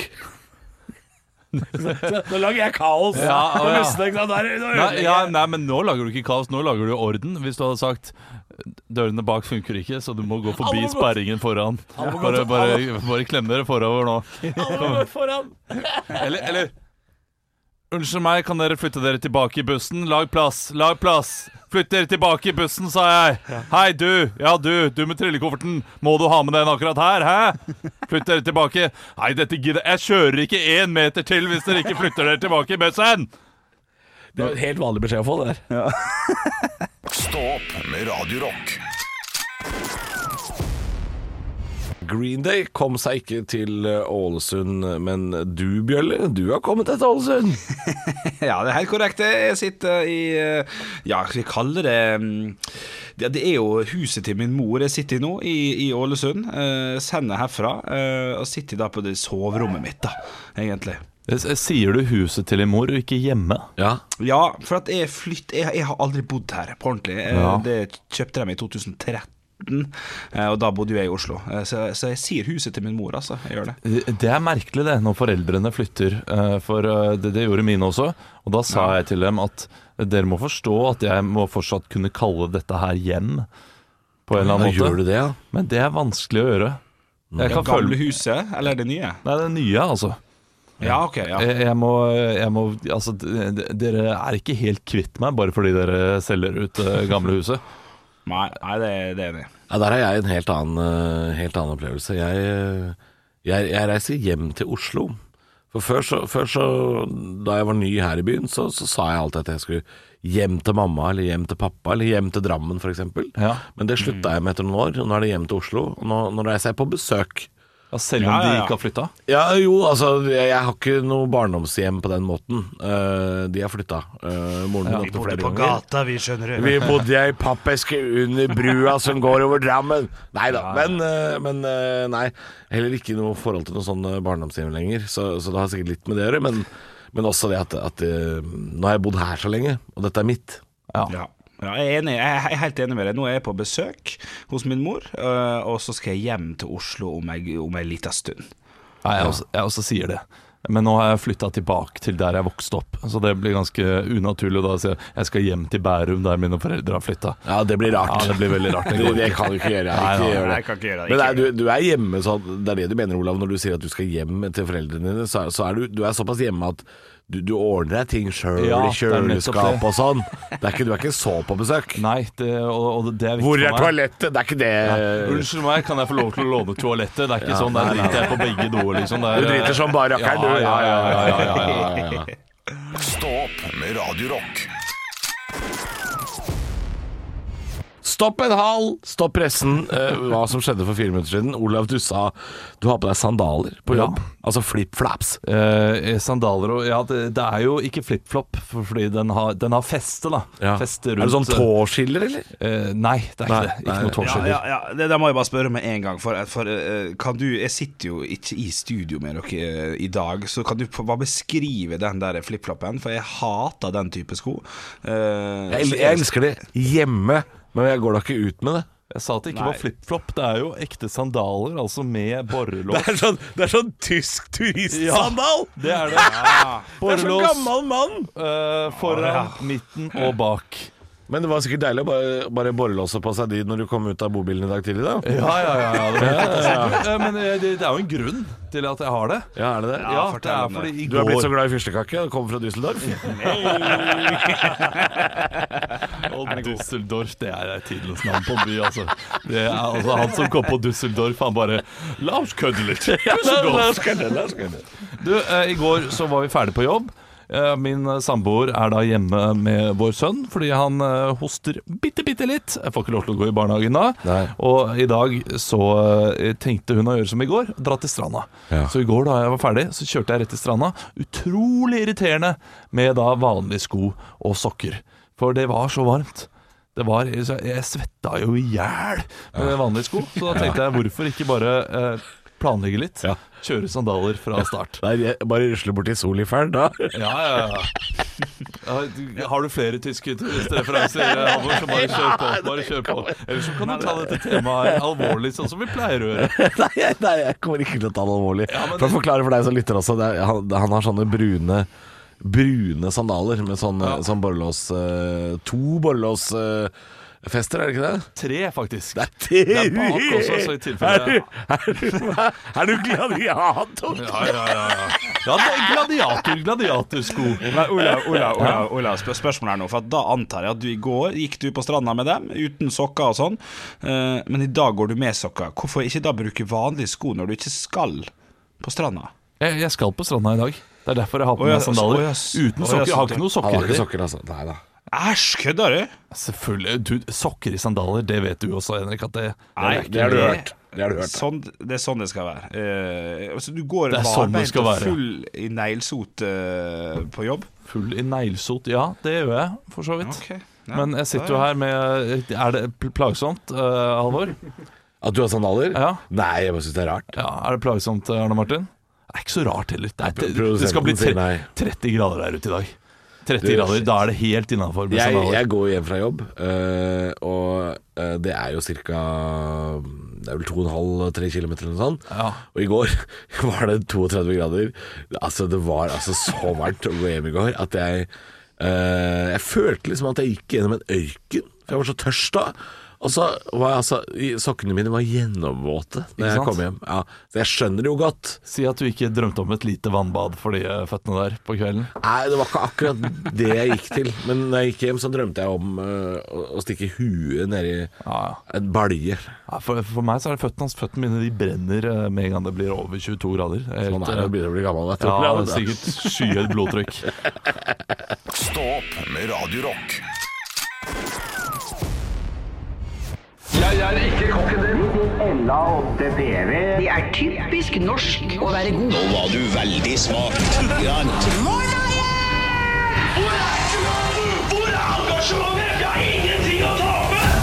S4: Så- så- <laughs> Nå lager jeg kaos
S3: Ja,
S4: på
S3: å, ja.
S4: bussen, ikke sant? Der- nå ødelegger
S3: Nei, ja,
S4: jeg.
S3: nei, men nå lager du ikke kaos, nå lager du orden. Hvis du hadde sagt dørene bak funker ikke, så du må gå forbi
S4: Alle må gå-
S3: sperringen foran. Bare, bare, bare klem dere forover nå.
S4: Alle går foran.
S3: Eller, eller Unnskyld meg, kan dere flytte dere tilbake i bussen? Lag plass, lag plass! Flytt dere tilbake i bussen, sa jeg! Hei, du! Ja, du! Du med trillekofferten! Må du ha med den akkurat her, hæ? Flytt dere tilbake! Nei, dette gidder Jeg kjører ikke én meter til hvis dere ikke flytter dere tilbake i bussen!
S4: Det er jo en helt vanlig beskjed å få, det der.
S1: Stå opp med Radio Rock.
S4: Green Day kom seg ikke til eh, Ålesund, men du, Bjølle, du har kommet til Ålesund.
S5: <laughs> Ja, det er helt korrekt. Jeg sitter i eh, Ja, skal vi kalle det mm, Det det er jo huset til min mor jeg sitter i nå, i, i Ålesund. Eh, Sender herfra. eh, Og sitter da på det soverommet mitt, da, egentlig.
S3: Eh, Sier du huset til din mor, og ikke hjemme?
S4: Ja,
S5: Ja, for at jeg flytt Jeg, jeg har aldri bodd her på ordentlig. Eh,
S3: Ja.
S5: Det kjøpte de i 2013. eh, Og da bodde jo jeg i Oslo, Eh, så, så jeg sier huset til min mor, altså. Jeg gjør det.
S3: Eh, Det er merkelig det, når foreldrene flytter. eh, For eh, det, det gjorde mine også. Og da sa jeg til dem at eh, dere må forstå at jeg må fortsatt kunne kalle dette her hjem. På en eller annen måte.
S4: det, Mm. ja.
S3: Men det er vanskelig å gjøre. Jeg
S5: Det
S3: kan følge
S5: gamle huset, eller det nye?
S3: Nei, det er nye, altså.
S5: Ja, ok. ja
S3: Jeg, jeg, må, jeg må Altså, d- d- dere er ikke helt kvitt meg bare fordi dere selger ut det gamle huset.
S5: Nei, nei det, det er jeg enig i.
S4: Ja, Der har jeg en helt annen, eh, helt annen opplevelse. Jeg, eh, jeg, jeg reiser hjem til Oslo. For før så, før så Da jeg var ny her i byen, så, så sa jeg alltid at jeg skulle hjem til mamma, eller hjem til pappa, eller hjem til Drammen f.eks.
S3: Ja.
S4: Men det slutta jeg med etter noen år. Nå er det hjem til Oslo. og Nå, nå reiser jeg på besøk.
S3: Ja, selv om
S5: Ja, ja,
S3: de
S5: ja.
S3: ikke har flytta?
S4: Ja, jo, altså Jeg, jeg har ikke noe barndomshjem på den måten. Eh, de har flytta. Eh, moren min opptil flere ganger.
S5: vi skjønner
S4: Vi bodde i pappeske under brua som går over Drammen. Nei da, men, eh, men eh, nei. Heller ikke noe forhold til noe sånn eh, barndomshjem lenger, så, så det har sikkert litt med det å gjøre. Men, men også det at, at eh, nå har jeg bodd her så lenge, og dette er mitt.
S5: Ja. Ja, jeg, er enig, jeg er helt enig med deg. Nå er jeg på besøk hos min mor, øh, og så skal jeg hjem til Oslo om ei om ei lita stund.
S3: Nei, jeg også, jeg også sier det. Men nå har jeg flytta tilbake til der jeg vokste opp, så det blir ganske unaturlig å da si jeg skal hjem til Bærum, der mine foreldre har flytta.
S4: Ja, det blir rart.
S3: Ja, det blir veldig rart. Det
S4: <laughs> Det,
S3: går ikke.
S4: kan du ikke gjøre.
S3: Nei,
S4: ikke
S3: nei,
S4: gjør det.
S5: nei, jeg kan ikke gjøre det,
S4: Men
S5: ikke
S4: nei, du, du er hjemme, så det er det du mener, Olav, når du sier at du skal hjem til foreldrene dine. Så, er- så er du, du er såpass hjemme at du, du ordner deg ting sjøl
S3: Ja,
S4: i
S3: det er nettopp det.
S4: kjøleskap og sånn. Det er ikke, du er ikke så på besøk.
S3: Nei, det, og, og det er viktig
S4: Hvor
S3: for
S4: er
S3: meg.
S4: toalettet? Det er ikke det
S3: Unnskyld meg, kan jeg få lov til å låne toalettet? Det er ikke
S4: Ja,
S3: sånn, der
S4: nei, nei.
S3: driter jeg på begge doer, liksom. Det er-
S4: Du driter som bare rakkeren, du.
S3: Ja, ja, ja, ja, ja, ja, ja.
S4: <laughs> ja, ja.
S1: Stå opp med Radio Rock.
S4: Stopp en hal! Stopp pressen! Eh, hva som skjedde for fire minutter siden. Olav, du sa du har på deg sandaler på
S3: Ja.
S4: jobb. Altså flip-flaps.
S3: Eh, sandaler og Ja, det, det er jo ikke flipflop, for- fordi den har, den har feste, da. Feste rundt
S4: Er det sånn tåskiller, eller?
S3: Eh, nei, det er ikke
S4: Nei,
S3: det. Ikke
S4: nei.
S3: noe
S5: Ja,
S3: tåskiller.
S5: ja, ja. Det, det må jeg bare spørre med en gang. For, for øh, kan du Jeg sitter jo ikke i studio med dere øh, i dag, så kan du få- bare beskrive den der flipfloppen? For jeg hater den type sko. Eh,
S4: Jeg,
S5: så
S4: el- jeg elsker det hjemme, men jeg går da ikke ut med det.
S3: Jeg sa at det ikke
S5: Nei.
S3: var flipflop. Det er jo ekte sandaler, altså med borrelås.
S4: er sånn, tysk
S3: turistsandal. Det er det. Borrelås
S4: mann!
S3: eh, foran, midten og bak.
S4: Men det var sikkert deilig å bare, bare borrelåse på seg de når du kom ut av bobilen i dag tidlig, da.
S3: Ja, ja, ja. ja, det var fantastisk. Eh, Men eh, det, det er jo en grunn til at jeg har det.
S4: Ja, er det det?
S3: Ja, det
S5: fortell
S3: er
S5: om det.
S3: fordi i
S4: Du er blitt så
S3: går
S4: glad i fyrstekake og kommer fra Düsseldorf?
S3: Og Dusseldorf, det er et tidløst navn på en by, altså. Det er, altså. Han som kom på Dusseldorf, han bare La oss kødde litt. Dusseldorf. Du, eh, I går så var vi ferdig på jobb. Eh, Min eh, samboer er da hjemme med vår sønn fordi han eh, hoster bitte, bitte litt. Jeg får ikke lov til å gå i barnehagen da.
S4: Nei.
S3: Og i dag så eh, tenkte hun å gjøre som i går, dra til stranda.
S4: Ja.
S3: Så i går da jeg var ferdig, så kjørte jeg rett til stranda. Utrolig irriterende med da vanlige sko og sokker. For det var så varmt. Det var, så jeg svetta jo i hjel med vanlige sko.
S4: <laughs>
S3: Så da tenkte jeg hvorfor ikke bare eh, planlegge litt.
S4: Ja.
S3: Kjøre sandaler fra start.
S4: Nei, jeg bare rusler bort i solifæren, da.
S3: Ja, ja, ja. ja. du- Har du flere tyske referanser, eh, Halvor, så bare kjør på. Bare kjør på. Eller så kan du ta dette temaet alvorlig, sånn som vi pleier å gjøre.
S4: <laughs> Nei, jeg- nei, jeg kommer ikke til å ta det alvorlig.
S3: men
S4: For å
S3: det-
S4: forklare for deg som lytter også, det er, han, han har sånne brune Brune sandaler med sånn, sånn borrelås eh, To borrelåsfester, er det ikke det?
S3: Tre, faktisk.
S4: Det
S3: er bak også,
S4: <laughs>
S3: så i tilfelle-
S4: Er du, er du, er du gladiator?
S3: Ja, ja, ja. ja. ja det er gladiator, gladiatorsko.
S5: Nei, Olav,
S4: <laughs>
S5: Olav, Olav, Olav spør spørsmålet her nå, for at da antar jeg at du i går gikk du på stranda med dem, uten sokker og sånn, eh, men i dag går du med sokker. Hvorfor ikke da bruke vanlige sko når du ikke skal på stranda?
S3: Jeg, jeg skal på stranda i dag. Det er derfor jeg har på
S5: Å, ja,
S3: meg sandaler.
S5: å, ja, s-
S3: Uten
S5: å, ja,
S3: sokker. Jeg har ikke noe sokker
S4: Han har
S3: i
S4: ikke
S3: det.
S4: sokker, altså. Nei da.
S5: Æsj, kødder du?
S3: Selvfølgelig. Du, sokker i sandaler, det vet du også, Henrik. At det,
S5: Nei,
S4: Det har du hørt. Det har du hørt.
S5: Sånn, det er sånn det skal være. Eh, altså, du går
S3: Det er sånn det
S5: barbeint
S3: skal
S5: og
S3: være.
S5: full i neglesot eh, på jobb.
S3: Full i neglesot. Ja, det gjør jeg, for så vidt.
S5: Ok. Ja.
S3: Men jeg sitter jo her med Er det pl- plagsomt, eh, Halvor?
S4: At du har sandaler?
S3: Ja.
S4: Nei, jeg bare syns det er rart.
S3: Ja, Er det plagsomt, eh, Arne Martin? Det er ikke så rart heller. Det, er, det,
S4: Produsenten
S3: det skal bli tre,
S4: sier nei.
S3: 30 grader her ute i dag. 30
S4: Du-
S3: grader, Da er det helt innafor.
S4: Jeg, jeg går hjem fra jobb, øh, og øh, det er jo ca. Det er vel 2,5-3 km eller noe sånt.
S3: Ja.
S4: Og i går <laughs> var det 32 grader. Altså Det var altså så varmt å gå hjem i går at jeg øh, Jeg følte liksom at jeg gikk gjennom en ørken, for jeg var så tørst da. Og så var jeg altså i- Sokkene mine var gjennomvåte
S3: Ikke
S4: da jeg
S3: sant?
S4: kom hjem. Ja, så jeg skjønner det jo godt.
S3: Si at du ikke drømte om et lite vannbad for de eh, føttene der på kvelden.
S4: Nei, det var ikke akkurat det jeg gikk til. Men da jeg gikk hjem, så drømte jeg om øh, å- å stikke huet nedi
S3: Ja, ja.
S4: en balje.
S3: Ja, for, for meg så er det føttene hans. Føttene mine de brenner eh, med en gang det blir over 22 grader. Helt, eh,
S4: Sånn er det å begynne å bli gammel. Vet du.
S3: ja, det
S4: det
S3: er sikkert skyhøyt blodtrykk.
S1: Stå opp med Radio Rock.
S5: Ja,
S8: Det er typisk norsk å være god.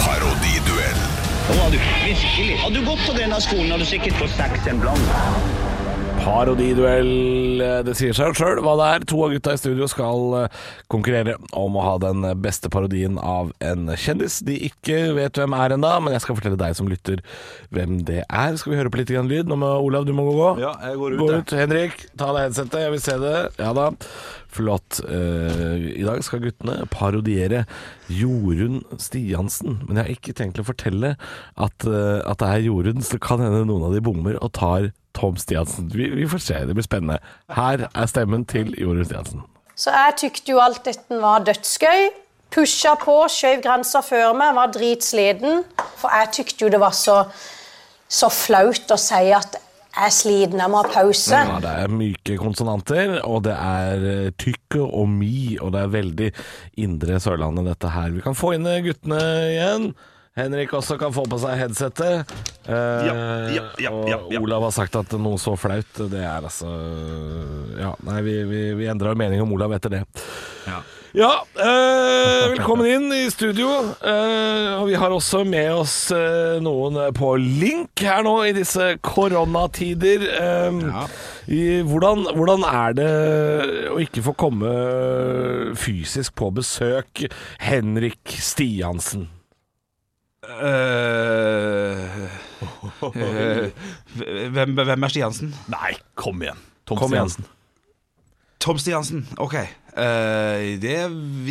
S1: Parodiduell.
S9: Hadde du gått på denne skolen, hadde du sikkert fått seks en blant.
S4: Parodiduell. eh, Det sier seg sjøl hva det er. To av gutta i studio skal eh, konkurrere om å ha den beste parodien av en kjendis de ikke vet hvem er ennå, men jeg skal fortelle deg som lytter hvem det er. Skal vi høre på litt grann lyd? Nå må Olav, du må gå. gå.
S3: Ja, jeg går ut,
S4: Gå
S3: jeg.
S4: ut. Henrik, ta av deg headsetet. Jeg vil se det. Ja da. Flott. Eh, I dag skal guttene parodiere Jorunn Stiansen. Men jeg har ikke tenkt å fortelle at, eh, at det er Jorunn, så det kan hende noen av de bommer og tar Tom Stiansen. Vi, vi får se, det blir spennende. Her er stemmen til Jorunn Stiansen.
S10: Så jeg tykte jo alt dette var dødsgøy. Pusha på, skjøv grensa før meg, var dritsliten. For jeg tykte jo det var så, så flaut å si at jeg er sliten, jeg må ha pause.
S4: Ja, det er myke konsonanter, og det er eh, tykke og mi, og det er veldig indre Sørlandet dette her. Vi kan få inn eh, guttene igjen. Henrik også kan få på seg headsetet. Eh,
S5: ja, ja, ja, ja.
S4: Og Olav har sagt at noe så flaut, det er altså Ja, nei, vi, vi, vi endrer mening om Olav etter det. Ja, eh, velkommen inn i studio. Eh, og vi har også med oss eh, noen på link her nå i disse koronatider. Eh, i, hvordan, hvordan er det å ikke få komme fysisk på besøk, Henrik Stiansen?
S5: Eh, eh, hvem, hvem er Stiansen?
S3: Nei, kom igjen. Tom
S4: Kom igjen.
S3: Stiansen.
S5: Tom Stiansen. Ok. Eh, det,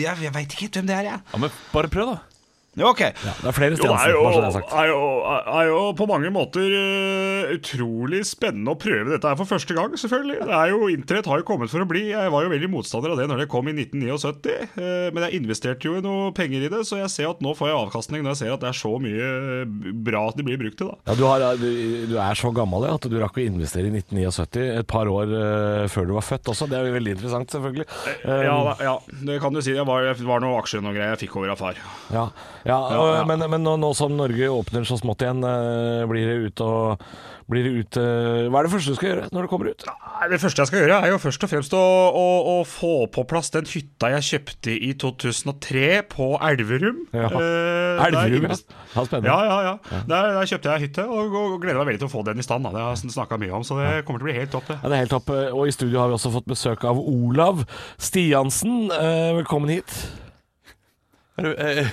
S5: jeg jeg veit ikke helt hvem det er, jeg.
S3: Ja, men bare prøv, da.
S5: Ja, Ok.
S4: Det er flere Stiansen, bare så det er sagt.
S11: er, jo, er jo på mange måter eh, utrolig spennende å prøve dette her for første gang, selvfølgelig. Det er jo, Internett har jo kommet for å bli. Jeg var jo veldig motstander av det når det kom i 1979, eh, men jeg investerte jo noe penger i det, så jeg ser at nå får jeg avkastning når jeg ser at det er så mye eh, bra at det blir brukt til, da.
S4: Ja, du, har, du, du er så gammel ja, at du rakk å investere i 1979, et par år eh, før du var født også. Det er jo veldig interessant, selvfølgelig. Eh,
S11: Ja, da- ja det kan du si. Det var, det var noen aksjer og noen greier jeg fikk over av far.
S4: Ja, ja, og- men, men nå, nå som Norge åpner så smått igjen, eh, blir det ut og blir det ut, eh, Hva er det første du skal gjøre når du kommer ut?
S11: Nei, Det første jeg skal gjøre, er jo først og fremst å, å, å få på plass den hytta jeg kjøpte i 2003 på Elverum.
S4: Ja.
S11: Eh,
S4: Elverum,
S11: der-
S4: ja. Mm. Ja, spennende.
S11: Ja, ja, ja. Der, der kjøpte jeg hytte, og, og, og gleder meg veldig til å få den i stand. Da. Det har jeg snakka mye om, så det kommer til å bli helt topp. det.
S4: Ja, det er helt topp. eh, Og i studio har vi også fått besøk av Olav Stiansen. Eh, velkommen hit.
S3: Er du- eh,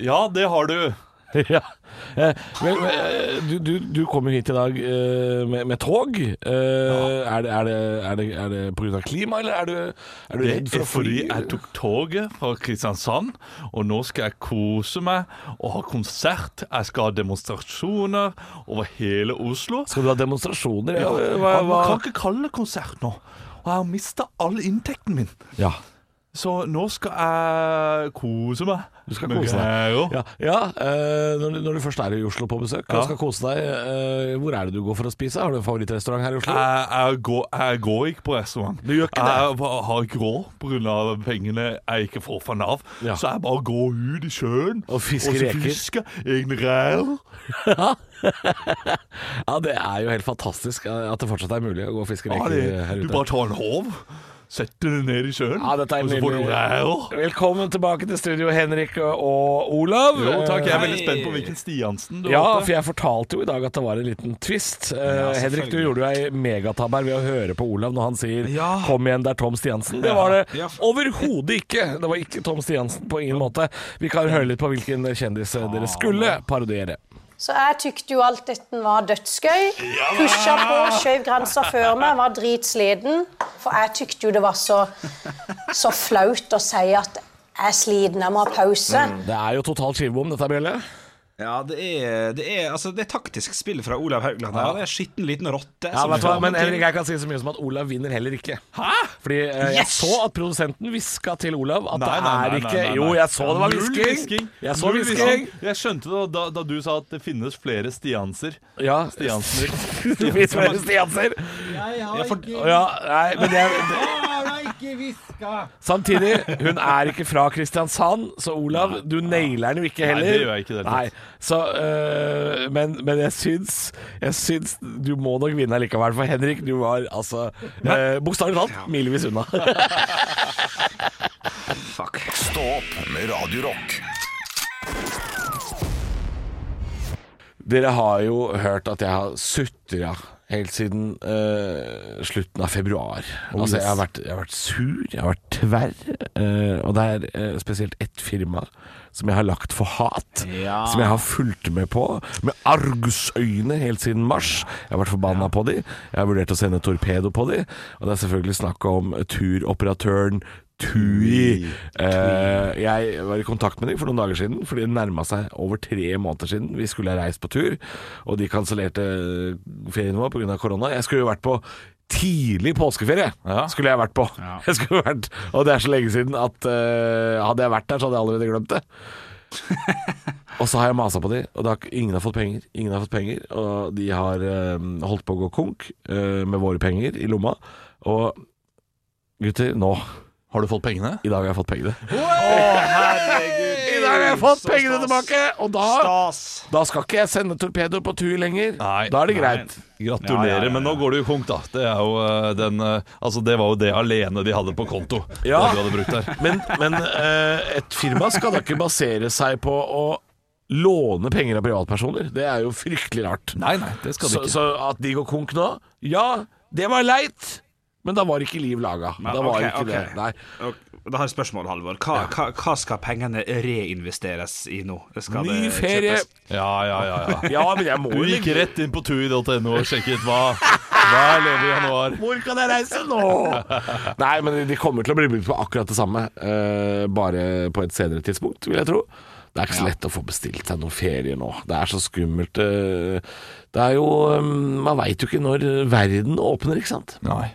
S3: Ja, det har du.
S4: <laughs> ja. Eh, vel, eh, du, du, du kom jo hit i dag eh, med, med tog. Eh, er, det, er, det, er, det, er det på grunn av klima, eller er du, er du redd for å fly?
S3: Fordi jeg tok toget fra Kristiansand, og nå skal jeg kose meg og ha konsert. Jeg skal ha demonstrasjoner over hele Oslo.
S4: Skal du ha demonstrasjoner?
S3: Ja,
S4: eller hva,
S3: man kan
S4: hva?
S3: ikke kalle det konsert nå. Og jeg har mista all inntekten min.
S4: Ja.
S3: Så nå skal jeg kose meg.
S4: Du skal
S3: med
S4: kose deg.
S3: greier.
S4: Ja, ja eh, når, du- når du først er i Oslo på besøk og
S3: Ja.
S4: skal kose deg, eh, hvor er det du går for å spise? Har du en favorittrestaurant her i Oslo?
S3: Jeg, jeg, går, jeg går ikke på restaurant.
S4: Du gjør ikke det?
S3: Jeg bare har ikke råd pga. pengene jeg ikke får fra Nav.
S4: Ja.
S3: Så jeg bare går ut i sjøen
S4: Og fisker
S3: og så
S4: reker.
S3: fisker egne reker.
S4: Ja, det er jo helt fantastisk eh, at det fortsatt er mulig å gå og fiske
S3: Ja,
S4: reker her
S3: det- Du
S4: ute.
S3: bare tar en håv, setter den ned i sjøen,
S4: Ja, dette er
S3: og så får du
S4: nydelig.
S3: reker.
S4: Velkommen tilbake til studio, Henrik og Olav.
S3: Jo, takk. Jeg er
S4: Eh,
S3: veldig spent på hvilken Stiansen du
S4: Ja,
S3: har
S4: for jeg fortalte jo i dag at det var en liten twist. Eh, Henrik, du gjorde jo ei megatabber ved å høre på Olav når han sier
S5: Ja.
S4: 'Kom igjen, det er Tom Stiansen'. Det var det
S5: Ja.
S4: overhodet ikke. Det var ikke Tom Stiansen på ingen måte. Vi kan høre litt på hvilken kjendis eh, dere
S3: Ah.
S4: skulle parodiere.
S10: Så jeg tykte jo alt dette var dødsgøy. Pusha på, skjøv grensa før meg, var dritsliten. For jeg tykte jo det var så, så flaut å si at jeg er sliten, jeg må ha pause.
S4: Det er jo totalt skivebom, dette, Bjelle.
S5: Ja, det er, det er, altså, det er taktisk spill fra Olav Haugland. her. Han er en skitten liten rotte.
S4: Ja,
S5: som
S4: vet du hva?
S5: kommer
S4: Men
S5: til-
S4: Henrik, jeg kan si så mye som at Olav vinner heller ikke. Hæ? Fordi eh, jeg
S5: Yes!
S4: så at produsenten hviska til Olav at
S3: Nei,
S4: det
S3: nei,
S4: er
S3: nei, nei,
S4: ikke
S3: nei, nei.
S4: Jo, jeg så det var
S3: Null
S4: hvisking. Jeg så
S3: Null
S4: hvisking.
S3: Jeg skjønte det da, da du sa at det finnes flere Stianser.
S4: Ja. <laughs>
S3: Stiansener.
S4: Stianser.
S3: Ja, for-
S4: Ja, nei, men jeg,
S12: ikke hviska!
S4: Samtidig, hun er ikke fra Kristiansand, så Olav, du nailer den jo ikke
S3: Nei,
S4: heller.
S3: det gjør jeg ikke i det hele
S4: Nei, så, øh, men, men jeg syns Jeg syns du må nok vinne likevel, for Henrik, du var altså øh, Bokstavelig talt milevis unna.
S1: Stå opp med Radio Rock.
S4: Dere har jo hørt at jeg har sutra helt siden eh, slutten av februar. altså, jeg, har vært, jeg har vært sur, jeg har vært tverr, eh, og det er eh, spesielt ett firma som jeg har lagt for hat. Som jeg har fulgt med på med argusøyne helt siden mars. Jeg har vært forbanna på de. Jeg har vurdert å sende torpedo på de. Og det er selvfølgelig snakk om turoperatøren Tui. Eh, jeg var i kontakt med dem for noen dager siden, fordi det nærma seg over tre måneder siden. Vi skulle ha reist på tur, og de kansellerte ferien vår pga. korona. Jeg skulle jo vært på tidlig påskeferie. Skulle jeg vært på. <laughs> Jeg skulle vært, og det er så lenge siden at eh, hadde jeg vært der, så hadde jeg allerede glemt det. Og så har jeg masa på de, og det har, ikke- ingen har fått penger. Ingen har fått penger, Og de har eh, holdt på å gå konk eh, med våre penger i lomma. Og gutter, nå
S3: Har du fått pengene?
S4: I dag har jeg fått pengene.
S5: Herregud.
S4: I dag har jeg fått pengene tilbake! Og da,
S5: Stas.
S4: da skal ikke jeg sende torpedo på tur lenger.
S3: Nei.
S4: da er det greit.
S3: <laughs> Gratulerer,
S5: Ja, ja, ja, ja.
S3: men nå går det jo konk, da. Det, er jo, eh, den, eh, altså, det var jo det alene de hadde på konto.
S4: Ja.
S3: Det du hadde brukt der.
S4: <laughs> Men, men eh, et firma skal da ikke basere seg på å låne penger av privatpersoner. Det er jo fryktelig rart.
S3: Nei, nei, det skal de
S4: Så,
S3: ikke.
S4: så at de går konk nå Ja, det var leit, men da var ikke liv laga. Da var
S5: ok,
S4: ikke
S5: ok.
S4: det. Nei.
S5: Og Da har jeg et spørsmål, Halvor. Hva, hva, hva skal pengene reinvesteres i nå? Skal
S4: Ny
S5: det
S4: ferie.
S5: kjøpes-
S3: Ja, ja, ja,
S4: <laughs>
S3: ja.
S4: Ja, men jeg må
S3: Du
S4: jo
S3: gikk
S4: legge-
S3: rett inn på tui.no og sjekket hva, hva er ledig i januar.
S4: Hvor kan jeg reise nå? <laughs> Nei, men de kommer til å bli brukt på akkurat det samme, eh, bare på et senere tidspunkt, vil jeg tro. Det er ikke så lett å få bestilt seg noen ferie nå. Det er så skummelt. eh. Det er jo eh, Man veit jo ikke når verden åpner, ikke sant?
S3: Nei.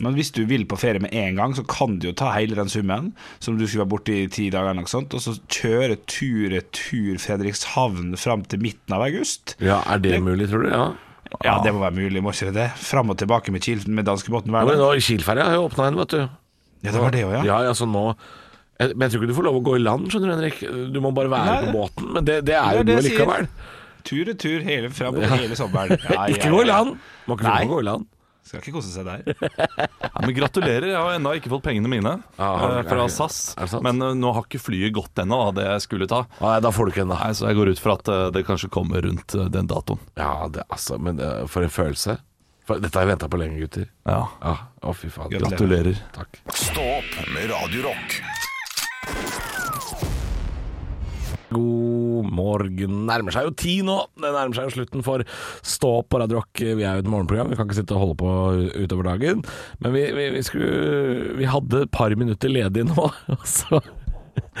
S5: Men hvis du vil på ferie med en gang, så kan du jo ta hele den summen som du skulle være borte i ti dager, eller noe sånt, og så kjøre tur-retur Fredrikshavn fram til midten av august.
S4: Ja, Er det mulig, tror du? Ja.
S5: Ja, det må være mulig, må ikke det? Fram og tilbake med Kiel med danskebåten hver
S4: men
S5: dag.
S4: nå, Kielferja har jo åpna igjen, vet du.
S5: Ja, det var det òg, ja.
S4: Ja, altså nå jeg- Men jeg tror ikke du får lov å gå i land, skjønner du, Henrik. Du må bare være
S5: Nei.
S4: på båten. Men det, det er
S5: Det er
S4: jo du
S5: det jeg sier.
S4: allikevel.
S5: Tur-retur hele, fram og
S4: <laughs>
S5: hele sommeren. Ja, ja,
S4: Ikke gå i
S5: ja.
S4: land! Må ikke få
S5: Nei.
S4: lov å gå i land.
S5: Skal ikke kose seg der.
S3: Ja, men gratulerer, jeg har ennå ikke fått pengene mine
S4: Ja, har du-
S3: eh,
S4: er
S3: fra
S4: det-
S3: SAS.
S4: er det sant?
S3: Men eh, nå har ikke flyet gått ennå, da, det jeg skulle ta.
S4: Nei, da får du ikke en, da.
S3: Nei, Så jeg går ut fra at eh, det kanskje kommer rundt eh, den datoen.
S4: Ja, det, altså, men eh, for en følelse. For, dette har jeg venta på lenge, gutter.
S3: Ja,
S4: Ja, Å, fy faen.
S3: Gratulerer.
S4: Takk.
S1: Stå opp med Radio Rock.
S4: God morgen. Nærmer seg jo ti nå. Det nærmer seg jo slutten for Stå opp på Radio Rock. Vi er jo et morgenprogram, vi kan ikke sitte og holde på utover dagen. Men vi, vi, vi skulle Vi hadde et par minutter ledig nå, <laughs> og så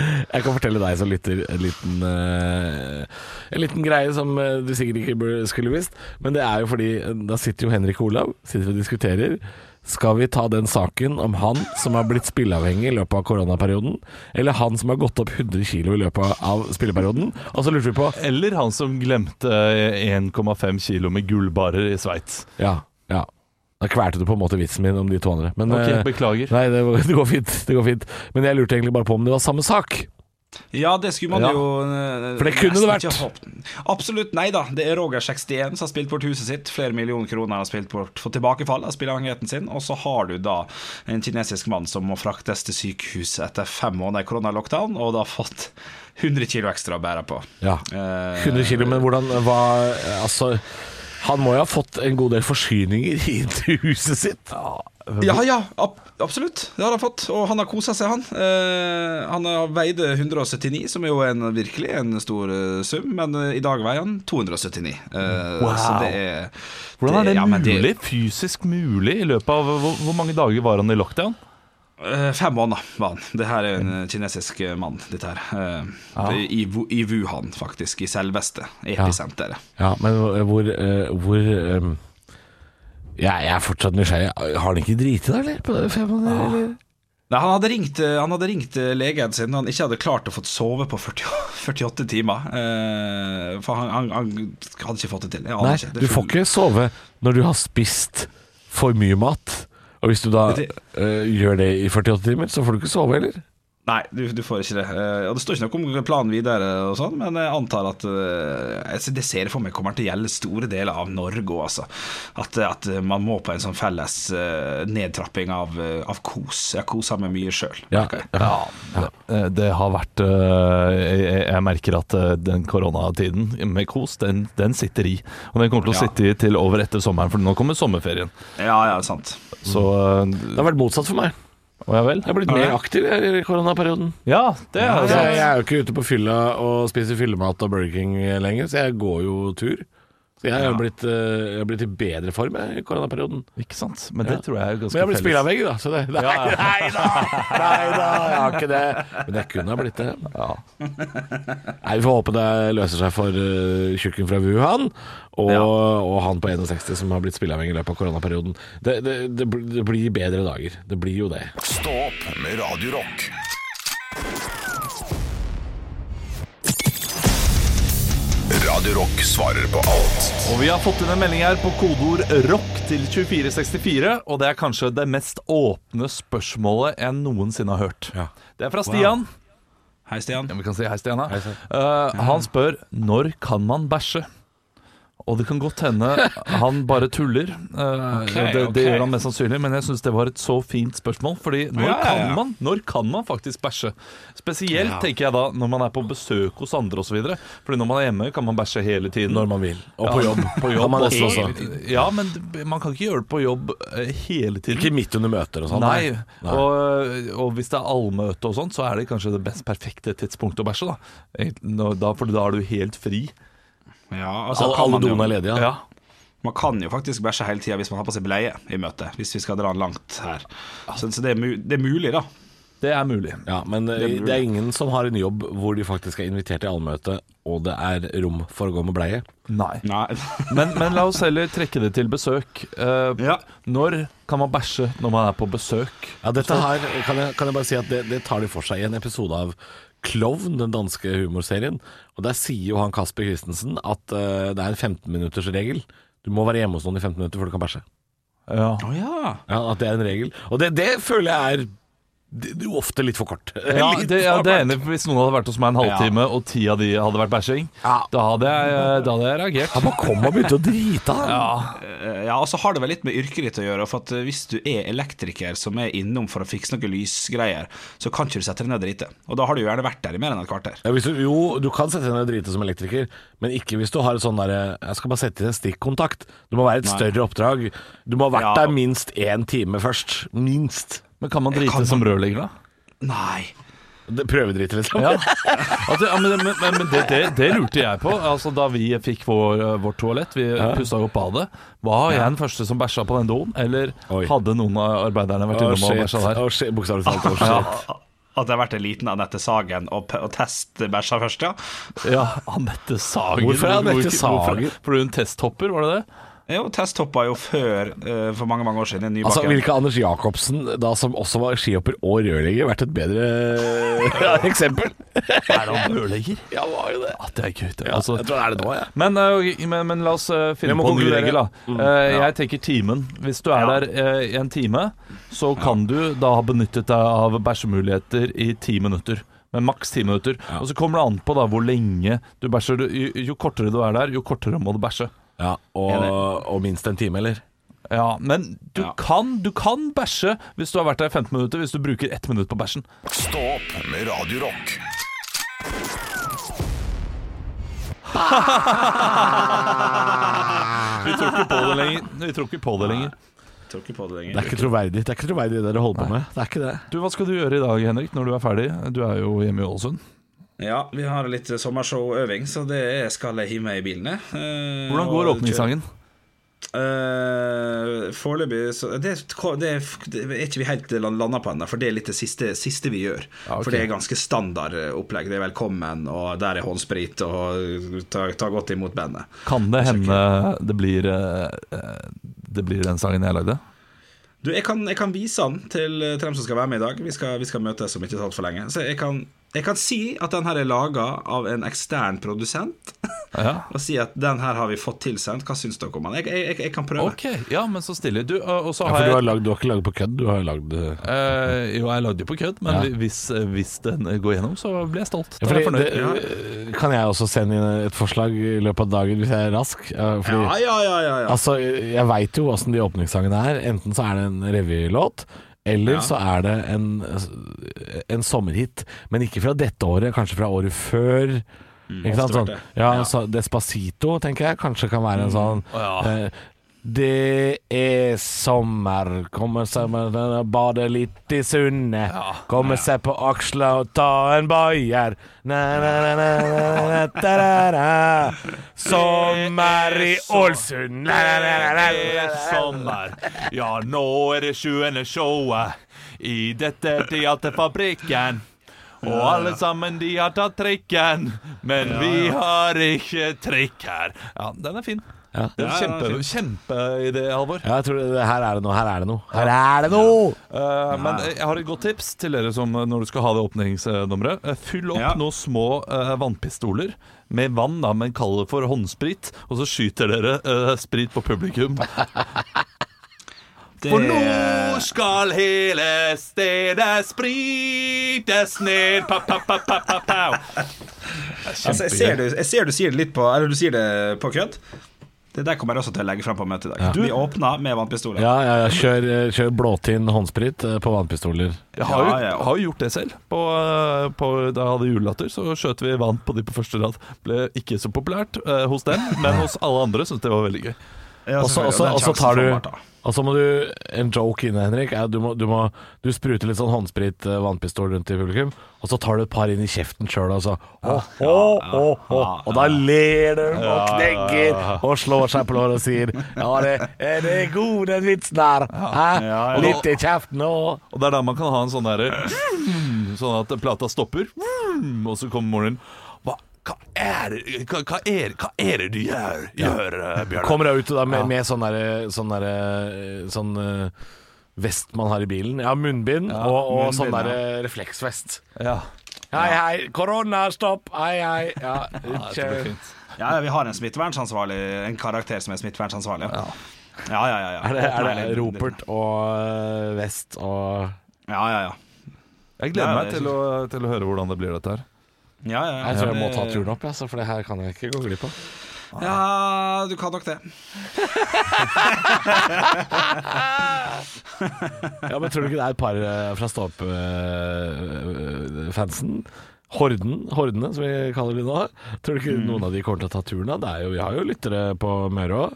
S4: jeg kan fortelle deg som lytter en liten, eh, en liten greie som eh, du sikkert ikke burde- skulle visst. Men det er jo fordi eh, da sitter jo Henrik og Olav sitter og diskuterer. Skal vi ta den saken om han som har blitt spilleavhengig i løpet av koronaperioden, eller han som har gått opp 100 kilo i løpet av spilleperioden? Og så lurte vi på
S3: Eller han som glemte eh, 1,5 kilo med gullbarer i Sveits.
S4: Ja, ja. Da kvelte du på en måte vitsen min om de to andre. Men,
S3: Ok,
S4: eh,
S3: beklager.
S4: Nei, det, <laughs> det går fint. Det går fint. Men jeg lurte egentlig bare på om det var samme sak.
S5: Ja, det skulle man
S4: Ja.
S5: jo eh,
S4: For det kunne det
S5: nesten
S4: vært.
S5: ikke ha håpet. Absolutt, nei da. Det er Roger61 som har spilt bort huset sitt. Flere millioner kroner har spilt bort for tilbakefall av spilleavhengigheten sin. Og så har du da en kinesisk mann som må fraktes til sykehus etter fem måneder i koronalockdown, og da har fått 100 kilo ekstra å bære på.
S4: Ja.
S5: Eh,
S4: 100 kilo, men hvordan var Altså, han må jo ha fått en god del forsyninger <laughs> inn til huset sitt.
S5: Ja, ja, ab absolutt. Det har han fått. Og han har kosa seg, han. Eh, han har veide 179, som er jo en, virkelig en stor eh, sum, men eh, i dag veier han 279. Eh,
S3: Wow.
S5: Så det er
S3: Hvordan er det
S5: ja, men det-
S3: mulig? Fysisk mulig i løpet av Hvor, hvor mange dager var han i lockdown?
S5: Eh, fem måneder var han. Det her er en eh, kinesisk eh, mann, dette her. Eh, det er i, Wu- I Wuhan, faktisk. I selveste episenteret.
S4: Ja, men hvor, eh, hvor eh, jeg, jeg er fortsatt nysgjerrig. Har han ikke driti da, eller? På det fem måneder, eller?
S5: Nei, han hadde ringt, eh, han hadde ringt legen sin når han ikke hadde klart å få sove på <laughs> 40, 48 timer. Eh, for han, han, han hadde ikke fått ah, det til. Jeg aner
S4: Nei,
S5: ikke. Det er
S4: du får
S5: full-
S4: ikke sove når du har spist for mye mat Og hvis du da eh, gjør det i 48 timer, så får du ikke sove heller.
S5: Nei, du, du får ikke det. Eh, Og Det står ikke noe om planen videre, og sånn men jeg antar at eh, altså, Det ser jeg for meg kommer til å gjelde store deler av Norge òg, altså. At, at man må på en sånn felles eh, nedtrapping av, eh, av kos. Jeg koser meg mye sjøl.
S4: Ja, ja.
S3: Eh, Det har vært eh, jeg, jeg- jeg merker at eh, den koronatiden med kos, den, den sitter i. Og den kommer til å
S5: Ja.
S3: sitte i til over etter sommeren, for nå kommer sommerferien.
S5: Ja, ja, sant.
S3: Så
S4: Det har vært motsatt for meg.
S3: Å ja vel?
S4: Jeg har blitt mer aktiv jeg, i koronaperioden.
S3: Ja, det er
S4: Altså, jeg
S3: det.
S4: er jo ikke ute på fylla og spiser fyllemat og Burger King lenger, så jeg går jo tur. Så jeg har blitt, eh, jeg har blitt i bedre form jeg, i koronaperioden.
S3: Ikke sant? Men det tror jeg er
S4: Men jeg
S3: ganske
S4: har blitt
S3: felles.
S4: spillavhengig, da. Så det, nei, <laughs> nei da! Nei da, jeg har ikke det. Men jeg kunne ha blitt det. Nei, Vi får håpe det løser seg for eh, tjukken fra Wuhan og, og han på 61 som har blitt spillavhengig i løpet av koronaperioden. Det, det, det, bl- det blir bedre dager. Det blir jo det.
S1: Stå opp med Radio Rock. Radio Rock svarer på alt.
S3: Og vi har fått inn en melding her på kodeord ROCK til 2464, og det er kanskje det mest åpne spørsmålet jeg noensinne har hørt. Det er fra Stian.
S5: Hei, Stian.
S3: Ja, vi kan si hei, Stian. da. Eh, han spør når kan man bæsje? Og det kan godt hende han bare tuller. Eh, det, det
S5: ok.
S3: gjør han mest sannsynlig, men jeg syns det var et så fint spørsmål. Fordi når,
S5: Ja, ja, ja.
S3: Kan, man, når kan man faktisk bæsje? Spesielt tenker jeg da når man er på besøk hos andre osv. Fordi når man er hjemme, kan man bæsje hele tiden.
S4: Når man vil. Og
S3: Ja,
S4: på jobb.
S3: På jobb
S4: Kan man
S3: også.
S4: nesten også.
S3: Ja, men man kan ikke gjøre det på jobb eh, hele tiden.
S4: Ikke midt under møter og sånn.
S3: Nei, Og, og hvis det er allmøte og sånt, så er det kanskje det best perfekte tidspunktet å bæsje. da. Egentlig, når- da for da er du helt fri.
S4: Så
S5: Ja, altså,
S4: alle-
S5: kan
S4: alle
S5: man jo-
S4: doene er ledige. Ja.
S5: Man kan jo faktisk bæsje hele tida hvis man har på seg bleie i møte, hvis vi skal dra den langt her.
S4: Ah.
S5: Så, så det, er mu det er mulig, da.
S3: Det er mulig.
S4: Ja, men eh, det er ingen som har en jobb hvor de faktisk er invitert til allmøte, og det er rom for å gå med bleie.
S3: Nei.
S5: Nei. <laughs>
S3: Men, men la oss heller trekke det til besøk. Eh,
S5: Ja.
S3: Når kan man bæsje når man er på besøk?
S4: Ja, dette her kan jeg, kan jeg bare si at det, det tar de for seg i en episode av Klovn, den danske humorserien. Og der sier jo han Kasper Christensen at eh, det er en 15-minuttersregel. Du må være hjemme hos noen i 15 minutter før du kan bæsje.
S3: Ja.
S5: Å ja.
S4: Ja, At det er en regel. Og det, det føler jeg er det, det er jo ofte litt for kort. <laughs>
S3: Ja,
S4: Litt
S3: det, ja,
S4: for
S3: det er
S4: kort.
S3: enig. Hvis noen hadde vært hos meg en halvtime, og ti av de hadde vært bæsjing,
S4: Ja.
S3: da, hadde jeg, eh, da hadde jeg
S4: Han
S3: reagert.
S4: bare kom og begynte å drite av.
S5: Eh, Ja, og så har det vel litt med yrket ditt å gjøre. For at eh, Hvis du er elektriker som er innom for å fikse noen lysgreier, så kan ikke du sette deg ned og drite. Og da har du gjerne vært der i mer enn et kvarter.
S4: Ja, hvis du, jo, du kan sette deg ned og drite som elektriker, men ikke hvis du har et sånn derre Jeg skal bare sette inn en stikkontakt. Det må være et større oppdrag. Du må ha vært
S5: Ja.
S4: der minst én time først. Minst.
S3: Men kan man drite som rørlegger, da?
S5: Nei.
S4: Det- Prøvedrite, liksom.
S3: Ja. Altså, ja, men men, men det, det, det lurte jeg på. Altså, da vi fikk vår, eh, vårt toalett, vi pussa opp badet, var jeg den første som bæsja på den doen? Eller
S4: Oi.
S3: hadde noen av arbeiderne vært
S4: Å,
S3: innom og
S4: shit.
S3: bæsja der?
S4: Å, shit. Bokstavelig talt. <laughs> Å, shit.
S5: At det har vært en liten Anette Sagen og, p- og testbæsja først, ja.
S3: Ja, Anette Sagen.
S4: Hvorfor er Anette
S3: Hvorfor- hvorfor-
S4: Sagen?
S3: Fordi hun testhopper, var det det?
S5: Jo, testhoppa jo før, eh, for mange mange år siden, i
S4: Altså,
S5: Nybakken.
S4: Ville Anders Jacobsen, da som også var skihopper og rørlegger, vært et <laughs> bedre eksempel?
S3: Er han rørlegger?
S4: Ja, var jo det.
S3: At det er gøy. Det. Altså,
S4: Altså, jeg tror det er det nå, jeg.
S3: men, eh, men, men la oss eh, finne
S4: Vi må
S3: på en ny
S4: konkludere. Mm.
S3: regel. Da. Eh, Jeg tenker timen. Hvis du er
S5: Ja.
S3: der eh, i en time, så kan du da ha benyttet deg av bæsjemuligheter i ti minutter. Men maks ti minutter. Og så kommer det an på da hvor lenge du bæsjer. Du- Jo, jo kortere du er der, jo kortere må du bæsje.
S4: Ja, og, og minst en time, eller?
S3: Ja, men du,
S5: Ja.
S3: kan, du kan bæsje hvis du har vært der i 15 minutter, hvis du bruker ett minutt på bæsjen.
S1: Stå opp med Radio Rock.
S3: Vi tror ikke på det lenger. Vi tror ikke på det
S4: <laughs>
S3: lenger.
S5: Tror ikke på det
S4: Det
S5: lenger.
S4: er ikke troverdig, det er ikke troverdig det dere holder på med. Det er ikke det.
S3: Du, Hva skal du gjøre i dag, Henrik, når du er ferdig? Du er jo hjemme i Ålesund.
S5: Ja, vi har litt sommershowøving, så det er- skal jeg hive meg i bilene. Eh,
S3: Hvordan går
S5: og kjøre-
S3: åpningssangen?
S5: Eh, Foreløpig så det, det, det er ikke vi helt landa på ennå, for det er litt det siste, siste vi gjør. For det er ganske standard eh, opplegg. Det er velkommen, og der er håndsprit, og eh, ta, ta godt imot bandet.
S3: Kan det hende det blir, eh, eh, det blir den sangen jeg lagde?
S5: Du, jeg kan, jeg kan vise den til, til dem som skal være med i dag. Vi skal, vi skal møtes om ikke så altfor lenge. Så jeg kan Jeg kan si at den her er laga av en ekstern produsent.
S3: Ja.
S5: <laughs> Og si at den her har vi fått tilsendt. Hva syns dere om den? Jeg, jeg, jeg, jeg kan prøve.
S3: Ok, ja, men så stille. Du, eh, og og så
S4: Ja, for
S3: har
S4: du
S3: jeg
S4: har, lagd, du har ikke lagd på kødd, du har lagd eh,
S3: Eh, jo, jeg lagde jo på kødd, men hvis, eh, hvis den går gjennom, så blir jeg stolt. Da er
S4: fordi
S3: jeg fornøyd.
S4: det- eh, Kan jeg også sende inn et forslag i løpet av dagen hvis jeg er rask? Ja, Fordi,
S5: Ja, ja, ja, ja, ja.
S4: Altså, jeg veit jo åssen de åpningssangene er. Enten så er det en revylåt, eller så er det en, en sommerhit. Men ikke fra dette året, kanskje fra året før. ikke sant?
S5: Mm, vært
S4: Sånn,
S5: det.
S4: ja, Så Despacito, tenker jeg, kanskje kan være en sånn
S5: Mm.
S4: eh, det er sommer, komme seg med den og bade litt i sundet. Komme seg på aksla og ta en bayer. Na, na, na, na, na, na, da, da, da. Sommer i Ålesund. La, la, la, la, la, la, la.
S3: sommer. Ja, nå er det sjuende showet i dette teaterfabrikken. Og alle sammen de har tatt trikken, men vi har ikke trikk her. Ja, den er fin. Den er kjempe, Kjempeidé, Halvor.
S4: Ja, jeg tror det, her er det noe. Her er det noe. Her er det noe!
S3: Eh, men jeg har et godt tips til dere som, eh, når du skal ha det åpningsnummeret. Eh, Fyll opp
S5: Ja.
S3: noen små eh, vannpistoler med vann, da, men kall det for håndsprit. Og så skyter dere eh, sprit på
S5: <laughs>
S3: publikum.
S5: Det,
S3: For nå skal hele stedet sprites ned. Pa, pa, pa, pa, pa, pa.
S5: altså, jeg, ser du, jeg ser du sier det litt på Eller du sier det på kødd. Det der kommer jeg også til å legge frem på møtet i dag. Vi åpna med vannpistoler.
S4: Ja, ja, ja. Kjør, eh, kjør blåtinn håndsprit eh, på vannpistoler.
S3: Jeg har jo,
S5: Ja, ja.
S3: har jo gjort det selv. På, eh, på, da jeg hadde julelatter, så skjøt vi vann på de på første rad. Ble ikke så populært eh, hos dem, men hos alle andre syntes det var veldig gøy.
S5: Ja,
S4: Og så-
S5: selvfølgelig,
S4: og så
S5: den
S4: og så
S5: sjansen
S4: tar
S5: får
S4: du
S5: man ta.
S4: Og så må du En joke inne, Henrik. Er, at du, må, du, må, du spruter litt sånn håndsprit, eh, vannpistol rundt i publikum, og så tar du et par inn i kjeften sjøl, og så «Åh, åh, åh, åh», Og da ler de og knegger og slår seg på låret og sier Ja, det, eh, det er god, den vitsen der.
S3: Ja, ja.
S4: Hæ? Litt i kjeften og
S3: Og det er da man kan ha en sånn derre Sånn at plata stopper, mm, og så kommer moren din. Hva, hva er det hva, hva er, hva er det du gjør, gjør eh, Bjørnar?
S4: Kommer ut da med, med sånn derre sånn, der, sånn eh, vest man har i bilen. Ja, munnbind og, og
S5: munnbind,
S4: sånn derre refleksvest.
S3: Ja.
S4: Hei, hei, korona, stopp, hei, hei. Ja,
S3: Det blir
S4: ikke.
S3: fint.
S5: Ja, ja, vi har en smittevernsansvarlig En karakter som er smittevernsansvarlig. Ja, ja, ja. ja, ja.
S4: Er det, er
S5: Åpna
S4: det
S5: hele-
S4: Ropert og eh, Vest og
S5: Ja, ja, ja.
S3: Jeg gleder
S5: Ja,
S3: meg
S5: det er
S3: til å, til å høre hvordan det blir dette her.
S5: Ja, ja, ja.
S4: Jeg tror jeg må ta turen opp, ja, så for det her kan jeg ikke gå glipp av.
S5: Ja, du kan nok det.
S4: Ja, men Tror du ikke det er et par eh, fra Stå-opp-fansen? Horden, Hordene, som vi kaller de nå. Tror du ikke noen av de kommer til å ta turen? da? Det er jo, vi har jo lyttere på Møre òg.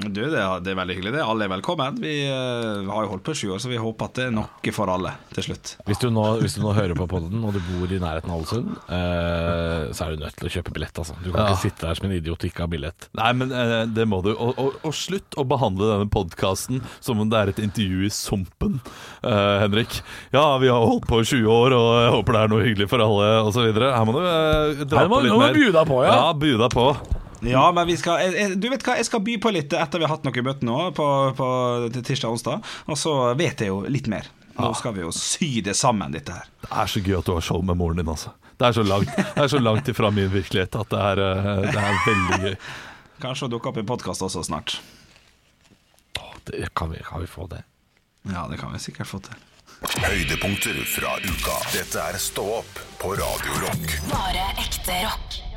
S5: Du, det er, det er veldig hyggelig. det Alle er velkommen. Vi eh, har jo holdt på i sju år, så vi håper at det er noe for alle til slutt.
S4: Hvis du, nå, hvis du nå hører på podden og du bor i nærheten av Ålesund, eh, så er du nødt til å kjøpe billett. Altså. Du kan ikke sitte der som en idiot og ikke ha billett.
S3: Nei, men eh, det må du. Og, og, og slutt å behandle denne podkasten som om det er et intervju i Sumpen, eh, Henrik. Ja, vi har holdt på i 20 år, og jeg håper det er noe hyggelig for alle, osv. Her må du eh, dra
S4: Her må-
S3: på litt
S4: nå må
S3: mer.
S4: du bjuda på, ja.
S3: Ja, bjuda på.
S5: Ja, men vi skal jeg- jeg- Du vet hva, jeg skal by på litt etter vi har hatt noe i bøtten nå, på, på til tirsdag og onsdag. Og så vet jeg jo litt mer. Nå skal vi jo sy det sammen, dette her.
S3: Det er så gøy at du har show med moren din, altså. Det er så langt, det er så langt ifra min virkelighet at det er, eh, det er veldig gøy.
S5: Kanskje dukke opp i podkast også snart.
S4: Å, det, kan, vi, kan vi få det?
S5: Ja, det kan vi sikkert få til.
S1: Høydepunkter fra uka. Dette er Stå opp på Radio Rock.
S2: Bare ekte rock.